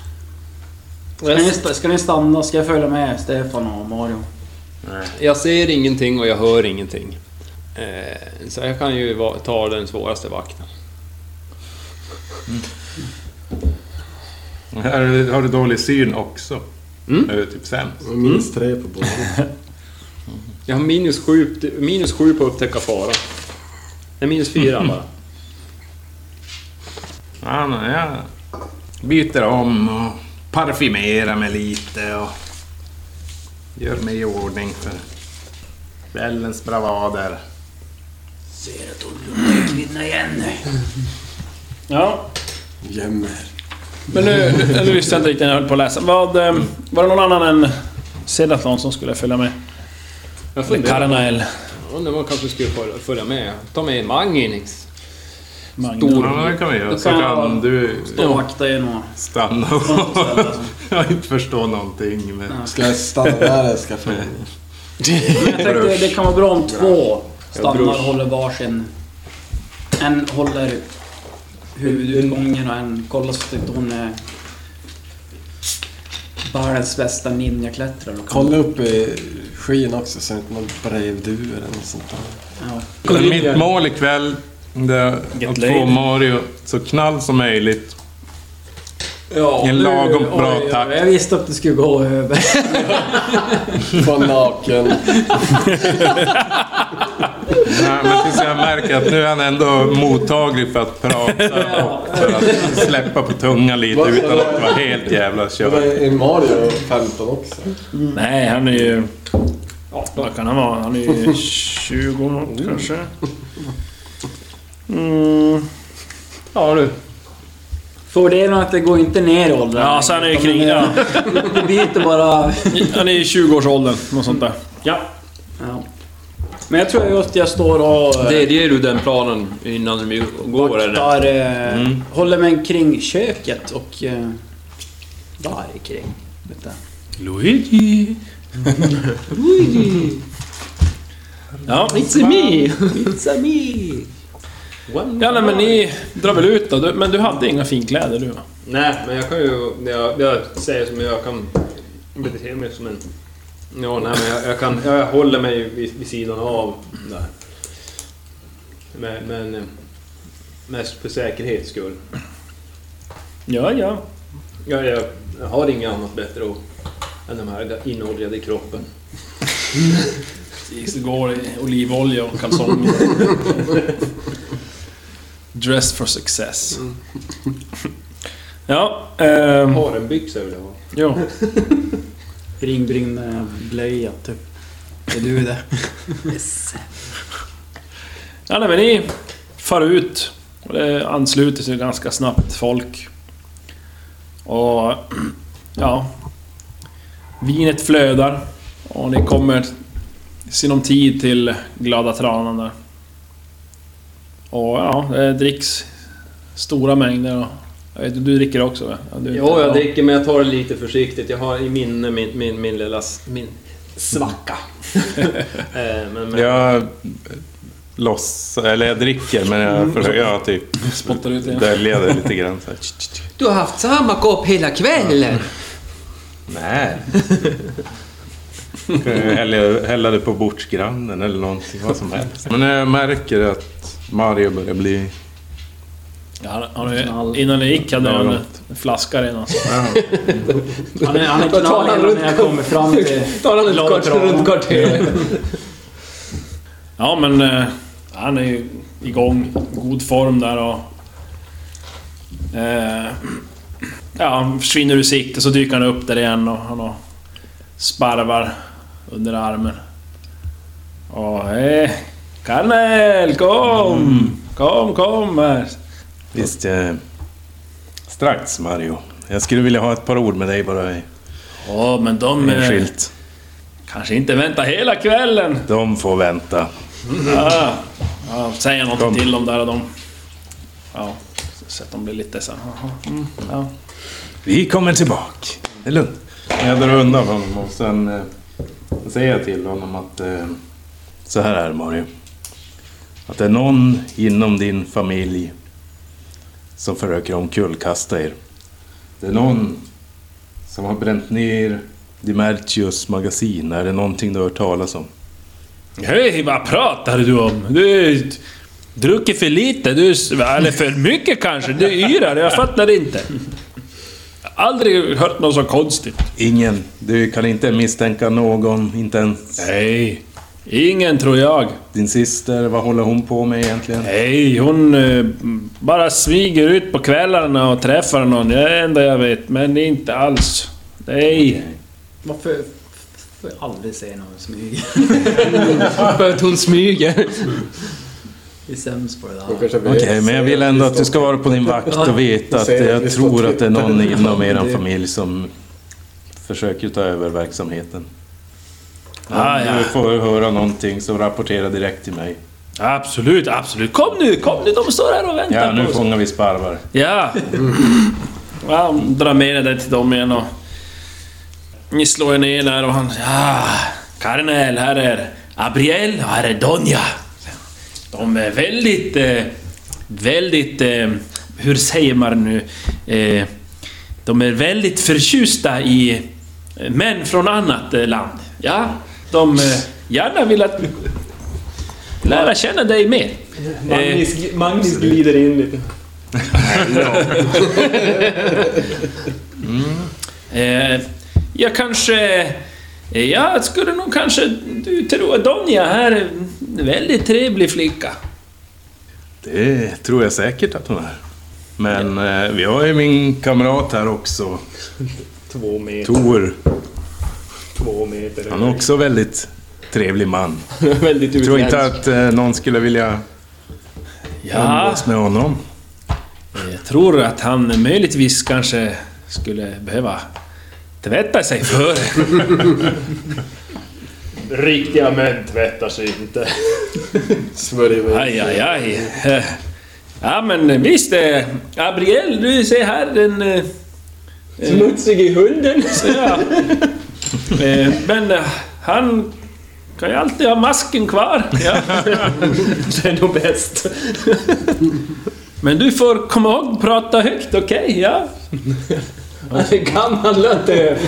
S3: Ska ni, sta- ska ni stanna? Ska jag följa med Stefan och Mario?
S6: Jag ser ingenting och jag hör ingenting. Eh, Så jag kan ju va- ta den svåraste vakten.
S2: Här har du dålig syn också.
S6: Mm.
S2: Är du typ sämst?
S4: Och Minst tre på båda.
S6: Jag har minus sju, minus sju på att upptäcka fara. Nej, minus fyra bara.
S2: Ja, men jag byter om och parfymerar mig lite och gör mig i ordning för kvällens bravader.
S3: Ser att hon luktar kvinna igen.
S5: Ja,
S4: Jämmer.
S5: Men nu, nu visste jag inte riktigt när jag höll på att läsa. Vad, eh, var det någon annan än Sedatlon som skulle följa med?
S6: Jag
S5: Eller
S6: funderar.
S5: Karanael?
S6: Undrar om man kanske skulle följa- följa med. Ta med en Manginix.
S5: Magnus?
S2: Ja, men det kan vi göra. Så
S3: kan
S2: kan
S3: jag-
S2: du
S3: Jag vaktar ju några.
S2: stanna och... (laughs) Jag inte förstår någonting. Men...
S4: Ska jag stanna där eller ska jag följa med?
S3: Men jag tänkte det kan vara bra om två stannar
S6: brors.
S3: och håller varsin. En håller huvudutgången och en kollar så att hon är världens bästa ninjaklättrare. och kan-
S4: Kolla upp i skyn också så att man brevduer eller något sånt där.
S3: Ja.
S2: Men Mitt mål ikväll det är att få
S5: laid.
S2: Mario så knall som möjligt.
S3: Ja,
S2: En
S3: nu-
S2: lagom
S3: oj,
S2: bra
S3: oj, oj,
S2: takt.
S3: Jag visste att det skulle gå över.
S4: Få naken.
S2: Nej, men tills jag märker att nu är han ändå mottaglig för att prata och för att släppa på tungan lite utan att vara helt jävla
S4: Och
S2: körd.
S4: det är Mario 15 också.
S5: Nej, han är ju... Vad kan han vara? Han är
S6: (laughs)
S5: ju 20 år kanske? Mm.
S6: Ja du.
S3: Fördelen är att det går inte ner i åldrarna.
S5: Ja, så han är ju
S3: Utan
S5: kring...
S3: det-
S5: Ja.
S3: Det byter bara...
S5: Han är i 20-årsåldern, något sånt där. Ja.
S3: Ja. Men jag tror just jag står och... eh,
S6: Delger du den planen innan de går eller?
S3: Där, eh, Håller mig kring köket och... Eh, där kring. Vet du.
S5: Luigi! Ja.
S3: It's me! It's me!
S5: ja, nej men ni drar väl ut då. Du- Men du hade inga finkläder du va?
S6: Nej, men jag kan ju... när Jag, jag säger som jag kan bete mig som en... Ja, nej men jag, jag kan... Jag håller mig ju vid, vid sidan av där. Men, men... eh, Mest för säkerhets skull.
S5: Ja, ja.
S6: Jag, jag, jag har inget annat bättre att, än de här inoljade i kroppen.
S5: Så går i olivolja och kalsonger. Dressed for success. Ja, ehm...
S6: Har en byxa vill jag ha.
S5: Jo.
S3: Ringbrynna blöja, typ. Är du det?
S5: Ja, nej, men ni far ut och det ansluter sig ganska snabbt folk. Och (clears throat) ja, vinet flödar och ni kommer i sinom tid till Glada Tranan där. Och ja, det dricks stora mängder och jag vet, inte, du dricker också va? Ja, du-
S6: Jo, jag dricker men jag tar det lite försiktigt. Jag har i minne min, min, min lilla... s- Min svacka. Eh, men, men,
S2: Jag loss, eller jag dricker men jag försöker jag typ
S5: Spottar ut igen.
S2: dölja det lite grann. Så här.
S9: Du har haft samma kopp hela kvällen.
S2: Nej. Kan ju hälla- Hälla det på bordsgrannen eller någonting, vad som helst. Men jag märker att Mario börjar bli...
S5: Ja, han, han, innan ni gick hade han en- en flaska redan. så.
S3: (laughs) Han är, han är knall innan jag kommer fram
S6: (laughs)
S3: till...
S6: Tar han ett
S3: Glada
S6: kort
S3: Tranan.
S6: runt kvarteret?
S5: Ja, men eh, han är ju igång, god form där och... Eh, (clears throat) ja, han försvinner ur sikte så dyker han upp där igen och han har sparvar under armen. Och eh, Karnel, kom! Kom, kom här!
S2: Visst, eh, strax Mario. Jag skulle vilja ha ett par ord med dig bara i-
S5: Ja, men de... Eh,
S2: enskilt.
S5: kanske inte väntar hela kvällen.
S2: De får vänta.
S5: Ja, ja, säger någonting
S2: Kom.
S5: till dem där och de... Ja, så att de blir lite så här, "Jaha, mm, ja.
S2: Vi kommer tillbaka. Det är lugnt. Jag drar undan honom och sen eh, säger jag till honom att eh, så här är det Mario. Att det är någon inom din familj som försöker omkullkasta er. Det är någon som har bränt ner Dimertius magasin. Är det någonting du har hört talas om?
S5: Hej, vad pratar du om? Du druckit för lite, du, eller för mycket kanske. Du yrar, jag fattar inte. Aldrig hört något så konstigt.
S2: Ingen. Du kan inte misstänka någon, inte ens
S5: Nej. Ingen tror jag.
S2: din syster. Vad håller hon på med egentligen?
S5: Nej, hon eh, bara smyger ut på kvällarna och träffar någon. Det är det enda jag vet. Men det är inte alls. Nej.
S3: (laughs) Varför... Får jag aldrig se någon smyga?
S9: För att hon smyger.
S3: Vi är sämst på det
S4: De
S3: där.
S6: (laughs)
S4: kanske vet-
S2: Okej, men jag vill ändå att du ska vara på din vakt och veta att
S4: säger att
S2: jag
S4: vi står
S2: tror att det är någon
S4: tryckta.
S2: inom er
S4: Det-
S2: familj som försöker ta över verksamheten. Om
S5: Ah, ja.
S2: du får höra någonting så rapportera direkt till mig.
S5: Absolut, absolut. Kom nu, kom nu. De står här och väntar
S2: Ja, nu
S5: på oss.
S2: fångar vi sparvar.
S5: Ja. ja dra med det där till dem igen och... Ni slår er ner där och han... Ja, Karnel, här är Abriel och här är Donja. De är väldigt... Eh, väldigt... Eh, hur säger man nu? Eh, de är väldigt förtjusta i eh, män från annat eh, land. Ja, de eh, gärna vill att... Lära känna dig mer. Eh,
S6: Magnus, Magnus glider in lite.
S5: Eh, jag kanske... eh, Jag skulle nog kanske du tro att Donja här är en väldigt trevlig flicka.
S2: Det tror jag säkert att hon är. Men eh, vi har ju min kamrat här också,
S6: Två meter.
S2: Tor.
S6: Två meter.
S2: Han är också väldigt trevlig man.
S6: (laughs) Väldigt
S2: Jag tror inte
S6: utländsk.
S2: att eh, någon skulle vilja
S5: Ja,
S2: umgås med honom.
S5: jag tror att han möjligtvis kanske skulle behöva tvätta sig för.
S10: (laughs) Riktiga män tvättar sig inte.
S4: Smörjer vi.
S5: Aj, aj, aj. Eh, Ja, men visst. eh, Gabriel, du ser här en... eh,
S6: Smutsig i hunden.
S5: Ja. Eh, Men eh, han kan ju alltid ha masken kvar. Ja.
S6: (laughs) Det är nog bäst.
S5: Men du får komma ihåg prata högt, okej? Ja.
S6: Han är gammal lödde.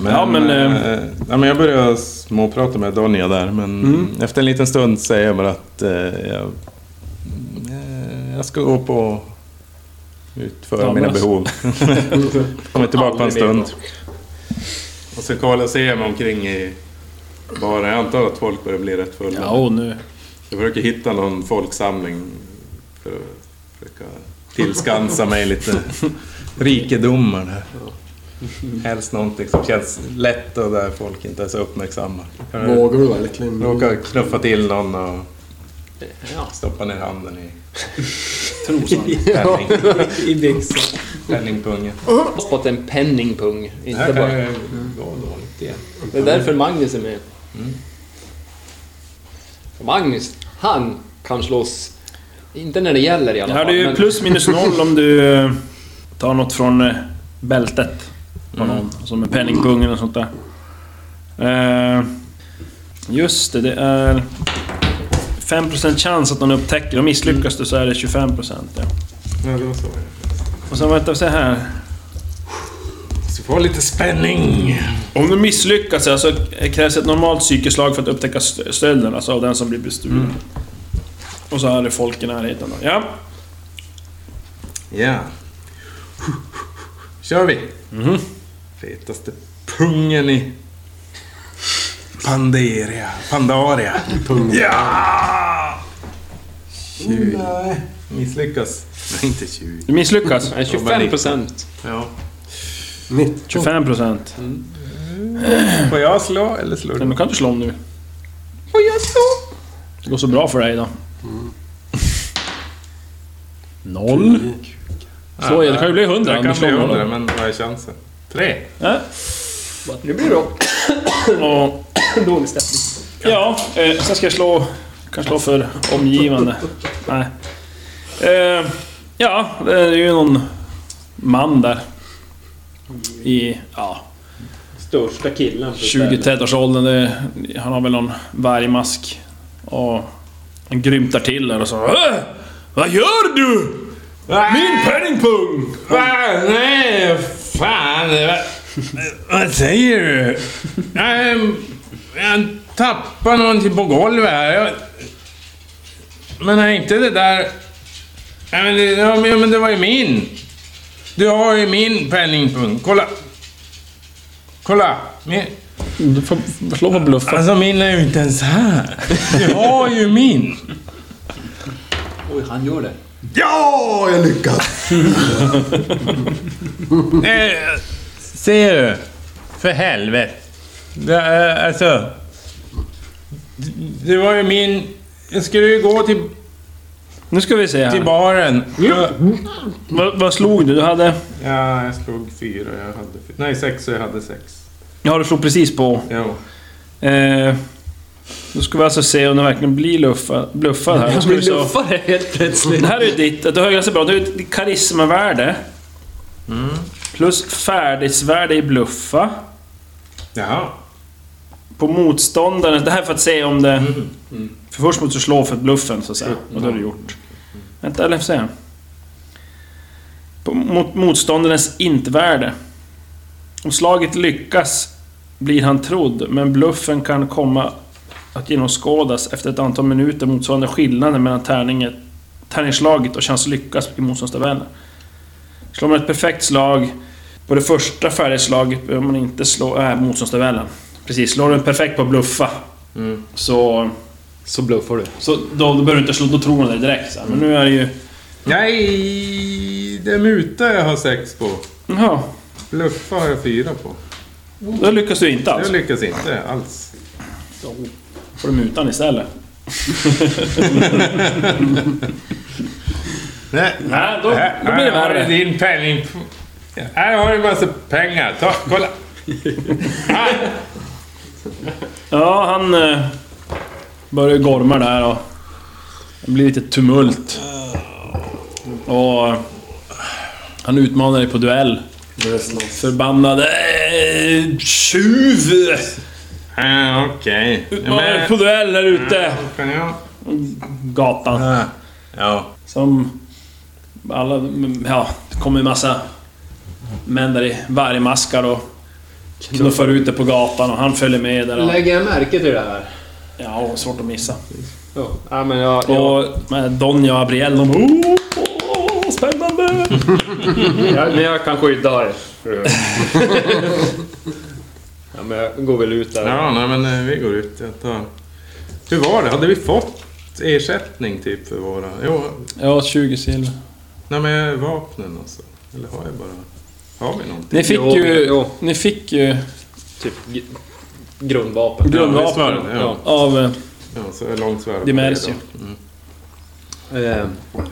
S2: Men,
S5: Ja, men,
S2: eh, ja, men jag börjar småprata med Donja där, men
S5: Mm.
S2: efter en liten stund säger jag bara att eh, jag, eh, jag ska gå upp och utföra
S5: Ja,
S2: mina
S5: men- (laughs)
S2: behov. Kommer tillbaka på en stund. Och så kollar jag ser mig omkring i baren. Jag antar att folk börjar bli rätt fulla.
S5: Ja, och nu.
S2: Jag försöker hitta någon folksamling för att försöka tillskansa mig lite rikedomar där. Helst någonting som känns lätt och där folk inte är så uppmärksamma. Jag
S4: Vågar du verkligen?
S2: råkar knuffa till någon och stoppa ner handen (laughs) i penning, (laughs)
S6: I byxan.
S2: penningpungen.
S6: Hoppas på att det är en penningpung.
S2: Det
S6: Inte
S2: här kan
S6: bara.
S2: ju gå dåligt igen.
S6: Det är därför Magnus är med. Magnus, han kan slåss. Inte när det gäller i alla
S5: Här är
S6: fall.
S5: det ju
S6: men-
S5: plus minus noll om du eh, tar något från eh, bältet på
S6: Mm.
S5: någon. Som en penningpung eller något sånt där. Eh, Just det, det är 5% chans att någon upptäcker och misslyckas du så är det 25%. Ja.
S2: Ja, det var så.
S5: Och sen vänta, se här.
S2: Så få lite spänning.
S5: Om du misslyckas alltså, krävs ett normalt psykeslag för att upptäcka stö- stölden, alltså av den som blir bestulen.
S6: Mm.
S5: Och så är det folk i närheten då. Ja.
S2: Ja. Kör vi. Fetaste pungen i Panderia. Pandaria. Ja! 20. Misslyckas. Nej, inte 20.
S5: Du misslyckas.
S6: Nej, 25 procent. Mm.
S2: Ja.
S5: 25 procent.
S2: Får jag slå eller slår
S5: Men
S2: du?
S5: då kan du slå om nu.
S6: Får jag så?
S5: Det går så bra för dig idag. Noll. Slå igen, det kan ju bli 100
S2: Jag
S5: om du
S2: kan bli
S5: slår Äh?
S2: hundra,
S5: noll.
S2: men vad är chansen? Tre.
S5: Ja.
S6: Nu blir det då
S5: Och,
S6: (coughs) dålig stämning.
S5: ja, eh, sen ska jag slå... Kan slå för omgivande. Nej. Eh, ja, det är ju någon man där. I... Ja,
S10: Största killen.
S5: 20-30-årsåldern. det- Han har väl någon vargmask. Och han grymtar till där och så... "Äh, Vad gör du? Min penningpung!
S2: Va? Nej, fan. det var- Vad säger du? Jag, jag tappade någonting på golvet här. Jag, men är inte det där... Nej, men det, ja, men- ja, men det var ju min. Du har ju min penningpung. Kolla. Kolla. Min,
S5: Du får slå på bluffen.
S2: alltså min är ju inte ens här. Du har ju min.
S6: Oj, han gör det.
S4: Ja, jag lyckas!
S2: Eh, ser du? För helvete. Det, eh, alltså... Det, det var ju min... Jag skulle ju gå till,
S5: Nu ska vi se
S2: till
S5: här.
S2: baren.
S5: Vad, vad slog du? Du hade...
S2: Ja, jag slog fyra. Jag hade fyra. Nej, sex och jag hade sex.
S5: Ja, du slog precis på.
S2: Jo.
S5: Eh, då ska vi alltså se om det verkligen blir luffa, bluffad här. Då ska vi se.
S6: luffare helt plötsligt.
S5: Det här är ju ditt... Det är ganska bra. Det är ju ditt karismavärde. Plus färdighetsvärde i bluffa.
S2: Jaha.
S5: på motståndaren. Det här är för att se om det... För först måste du slå för bluffen så att säga. Och det har du gjort. Vänta, eller se. På, mot motståndarens intvärde. Om slaget lyckas blir han trodd, men bluffen kan komma att genomskådas efter ett antal minuter motsvarande skillnaden mellan tärninget, tärningsslaget och chans att lyckas i motståndstabellen. Slår man ett perfekt slag på det första färdigslaget behöver man inte slå äh, motståndstabellen. Precis, slår du en perfekt på att bluffa Mm. så,
S6: Så bluffar du.
S5: så då, då behöver du inte slå, då tror man det direkt. Så här. Men nu är det ju...
S2: Nej! Det är muta jag har sex på.
S5: Jaha,
S2: Bluffa har jag fyra på.
S5: då lyckas du inte alltså.
S2: Jag
S5: alls.
S2: lyckas inte alls.
S5: får du mutan istället.
S2: Nej,
S5: (laughs) Nej, då, då blir det
S2: Här har du
S5: värre.
S2: din penning... Här har du en massa pengar. Ta,
S5: (laughs)
S2: kolla! Ah,
S5: Ja, han eh, börjar ju gorma där och det blir lite tumult. Och eh, han utmanar dig på duell. Förbannade eh, tjuv!
S2: Ah, Okej.
S5: Utmanar dig på duell här ute.
S2: Kan jag?
S5: Gatan.
S2: Ah, Ja.
S5: Som alla... Ja, det kommer en massa män där i vargmaskar och knuffar ut det på gatan och han följer med där. Och,
S6: Lägger jag märke till det här?
S5: ja, svårt att missa.
S6: Ja, ja men jag... jag,
S5: Och med Donja och Abriel, de... Oh, oh, spännande!
S6: mm.
S10: Ja, men jag kan skydda er.
S6: (laughs) ja, men jag går väl ut där.
S2: Ja, nej, men eh, vi går ut. Jag tar... Hur var det? Hade vi fått ersättning typ för våra... Jo,
S5: Ja, 20 silver.
S2: nej men vapnen alltså. Eller har jag bara... Har vi någonting?
S5: Ni fick
S6: Jo,
S5: ju...
S6: jo.
S5: Ni fick ju
S6: Typ g- grundvapen.
S2: Ja, visst
S5: grundvapen
S2: var det det? Ja.
S5: av... eh,
S2: ja, så är långt svärd.
S5: Dimersio.
S6: Eh,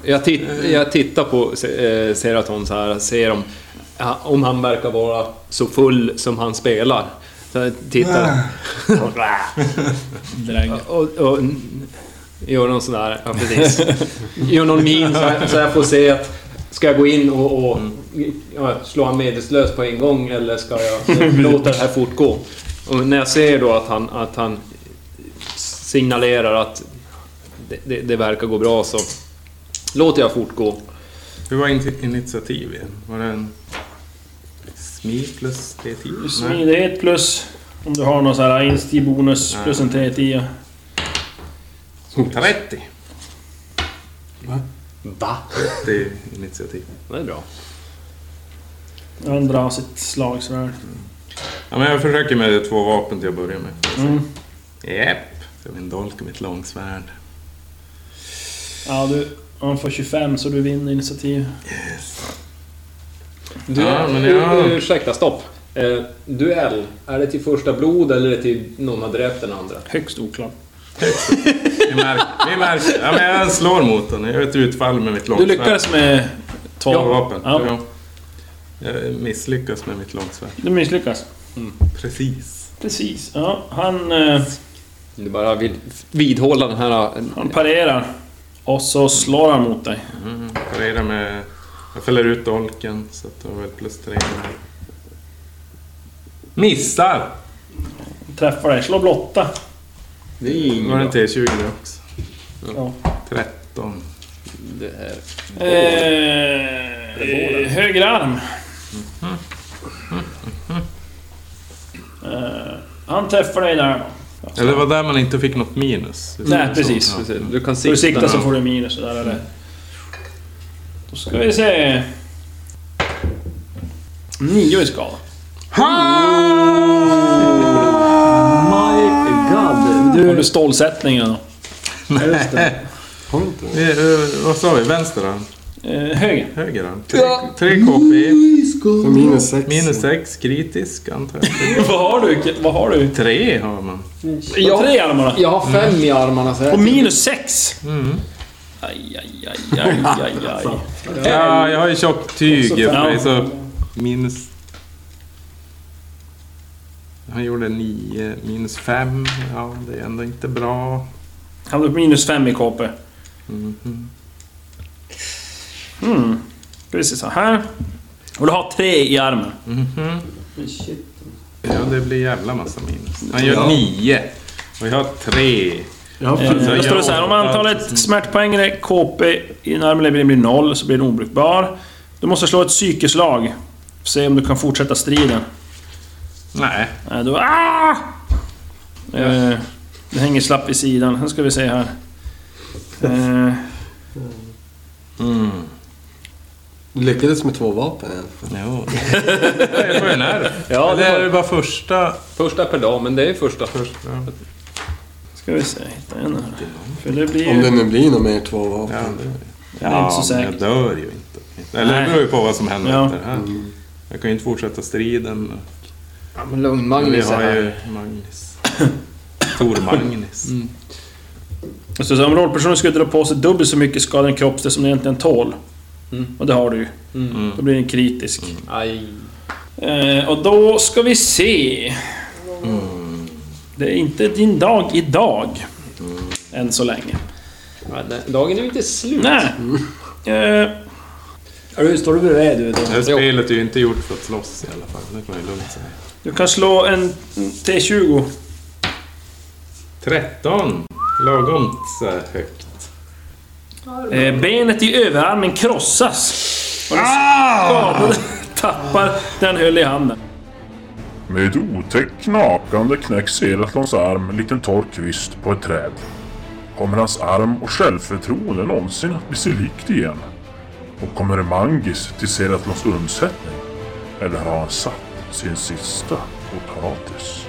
S6: jag, tit- jag tittar på Se- eh, Seraton så här, ser om, ja, om han verkar vara så full som han spelar. Så jag tittar
S5: dräng.
S6: och, och n- gör någon sån där, ja precis. Gör någon min så, jag- så jag får se att ska jag gå in och, och ja, slå han medvetslös på en gång eller ska jag låta det här fortgå? Och när jag ser då att han, att han signalerar att det, det, det verkar gå bra så låter jag fortgå.
S2: Hur var in- initiativ igen? Var det en... Smid plus D10? Nej.
S5: Smidighet plus... Om du har någon sån här insti-bonus plus en T10.
S2: 30.
S6: Va?
S2: Det är initiativ.
S6: Det är bra.
S5: Han drar sitt slagsvärd.
S2: Ja, men jag försöker med två vapen till att börja med.
S5: Mm.
S2: Japp. Så min dolk och mitt långsvärd.
S5: Ja, du... Han får 25 så du vinner initiativ.
S6: Du,
S2: Ja, men jag-
S6: ur- Ursäkta, stopp. Eh, duell, är det till första blod eller är det till någon har dräpt den andra?
S5: Högst oklart.
S2: Vi märker. Vi märker. Ja, men jag slår mot honom. Jag gör ett utfall med mitt
S5: Du
S2: långsvärd.
S5: lyckades med... Två
S2: Ja, vapen.
S5: Ja.
S2: Ja. Jag misslyckas med mitt långsvärd.
S5: Du misslyckas.
S2: Precis.
S5: Precis. Ja, han... eh,
S6: Du bara vill vidhålla den här...
S5: Han parerar. Och så slår han mot dig.
S2: Mm. Parera med... Jag fäller ut dolken så att det var väl plus tre. Missar!
S5: Träffar dig. Slå blotta.
S6: Det är inget
S2: Var det en T20 nu också?
S5: Ja.
S2: 13.
S6: Det är...
S5: Eh, höger arm.
S2: Mm-hmm.
S5: Eh, han träffar dig där.
S2: Mm-hmm. Eller det var där man inte fick något minus.
S5: Nej, precis.
S2: Ja.
S6: Precis, Du kan
S5: Får du
S6: sikta.
S5: sikta så
S6: nu.
S5: får du minus. Där, eller? Då ska vi se... Nio i skada.
S3: God!
S5: Har
S3: Du...
S5: du stålsättningen då?
S2: Vi, eh, vad sa vi? Vänster arm?
S5: Eh, höger. (laughs)
S2: Höger arm? 3 KP.
S4: Så minus sex.
S2: Minus 6 kritisk antar jag.
S5: vad har du? Vad har du?
S2: 3 har man.
S5: Du har tre armarna.
S6: Jag har fem i armarna så
S5: Och
S6: jag...
S5: minus sex! Aj, aj, aj, aj, aj, aj.
S2: Ja, jag har ju tjockt tyg i och för mig
S5: Ja.
S2: så... Minus... Han gjorde 9, minus 5. Ja, det är ändå inte bra.
S5: Han hade minus fem i KP. Mm. Ska vi se så här. Och du har tre i armen.
S2: Ja, det blir jävla massa minus. Han gör 9. Och jag har 3.
S4: Ja,
S5: Eh,
S2: jag
S5: Då står det så här. Om
S2: åtta.
S5: antalet smärtpoäng eller KP i en arm eller ben blir noll så blir den obrukbar. Du måste slå ett psykeslag. Se om du kan fortsätta striden.
S2: Nej.
S5: Nej, då... Ah! Eh, det hänger slapp vid sidan. Sen ska vi se här. Eh,
S4: Lyckades med två vapen igen.
S2: (laughs) Jo. Jag får ju nerv.
S6: Ja,
S2: Eller
S6: det
S2: är
S6: var...
S2: det bara första...
S6: Första per dag, men det är första.
S2: första.
S5: ska vi se. Hitta en här. För det blir
S4: Om det
S5: ju...
S4: nu blir någon mer två vapen.
S2: Ja, det...
S5: Jag är inte så
S2: men
S5: säker.
S2: jag dör ju inte. Eller
S5: Nej.
S2: det beror ju på vad som händer
S5: Ja.
S2: efter det här. Jag kan ju inte fortsätta striden.
S6: Ja, men lugn,
S2: Vi (laughs)
S6: Magnus är
S2: har
S6: här.
S2: ju Magnus. Tor Magnus.
S5: Och Alltså, så, så om rollpersonen skulle dra på sig dubbelt så mycket skada i en kroppsdel som den egentligen tål. Och det har du ju. Då blir den kritisk.
S6: Aj.
S5: Eh, och då ska vi se. Det är inte din dag idag. Än så länge.
S6: Ja, nej, dagen är ju inte slut.
S5: Nej. Eh,
S3: Är du, står du bredvid du då?
S2: Det här spelet är ju inte gjort för att slåss i alla fall. Det kan man ju lugnt säga.
S5: du kan slå en en T20.
S2: 13! Lagom så här högt.
S5: Eh, benet i överarmen krossas. Och den skadade (laughs) tappar den höll i handen.
S1: Med ett otäckt knakande knäcks Eratlons arm likt en torr kvist på ett träd. Kommer hans arm och självförtroende någonsin att bli sig likt igen? Och kommer Mangis till Seratlons undsättning? Eller har han satt sin sista potatis?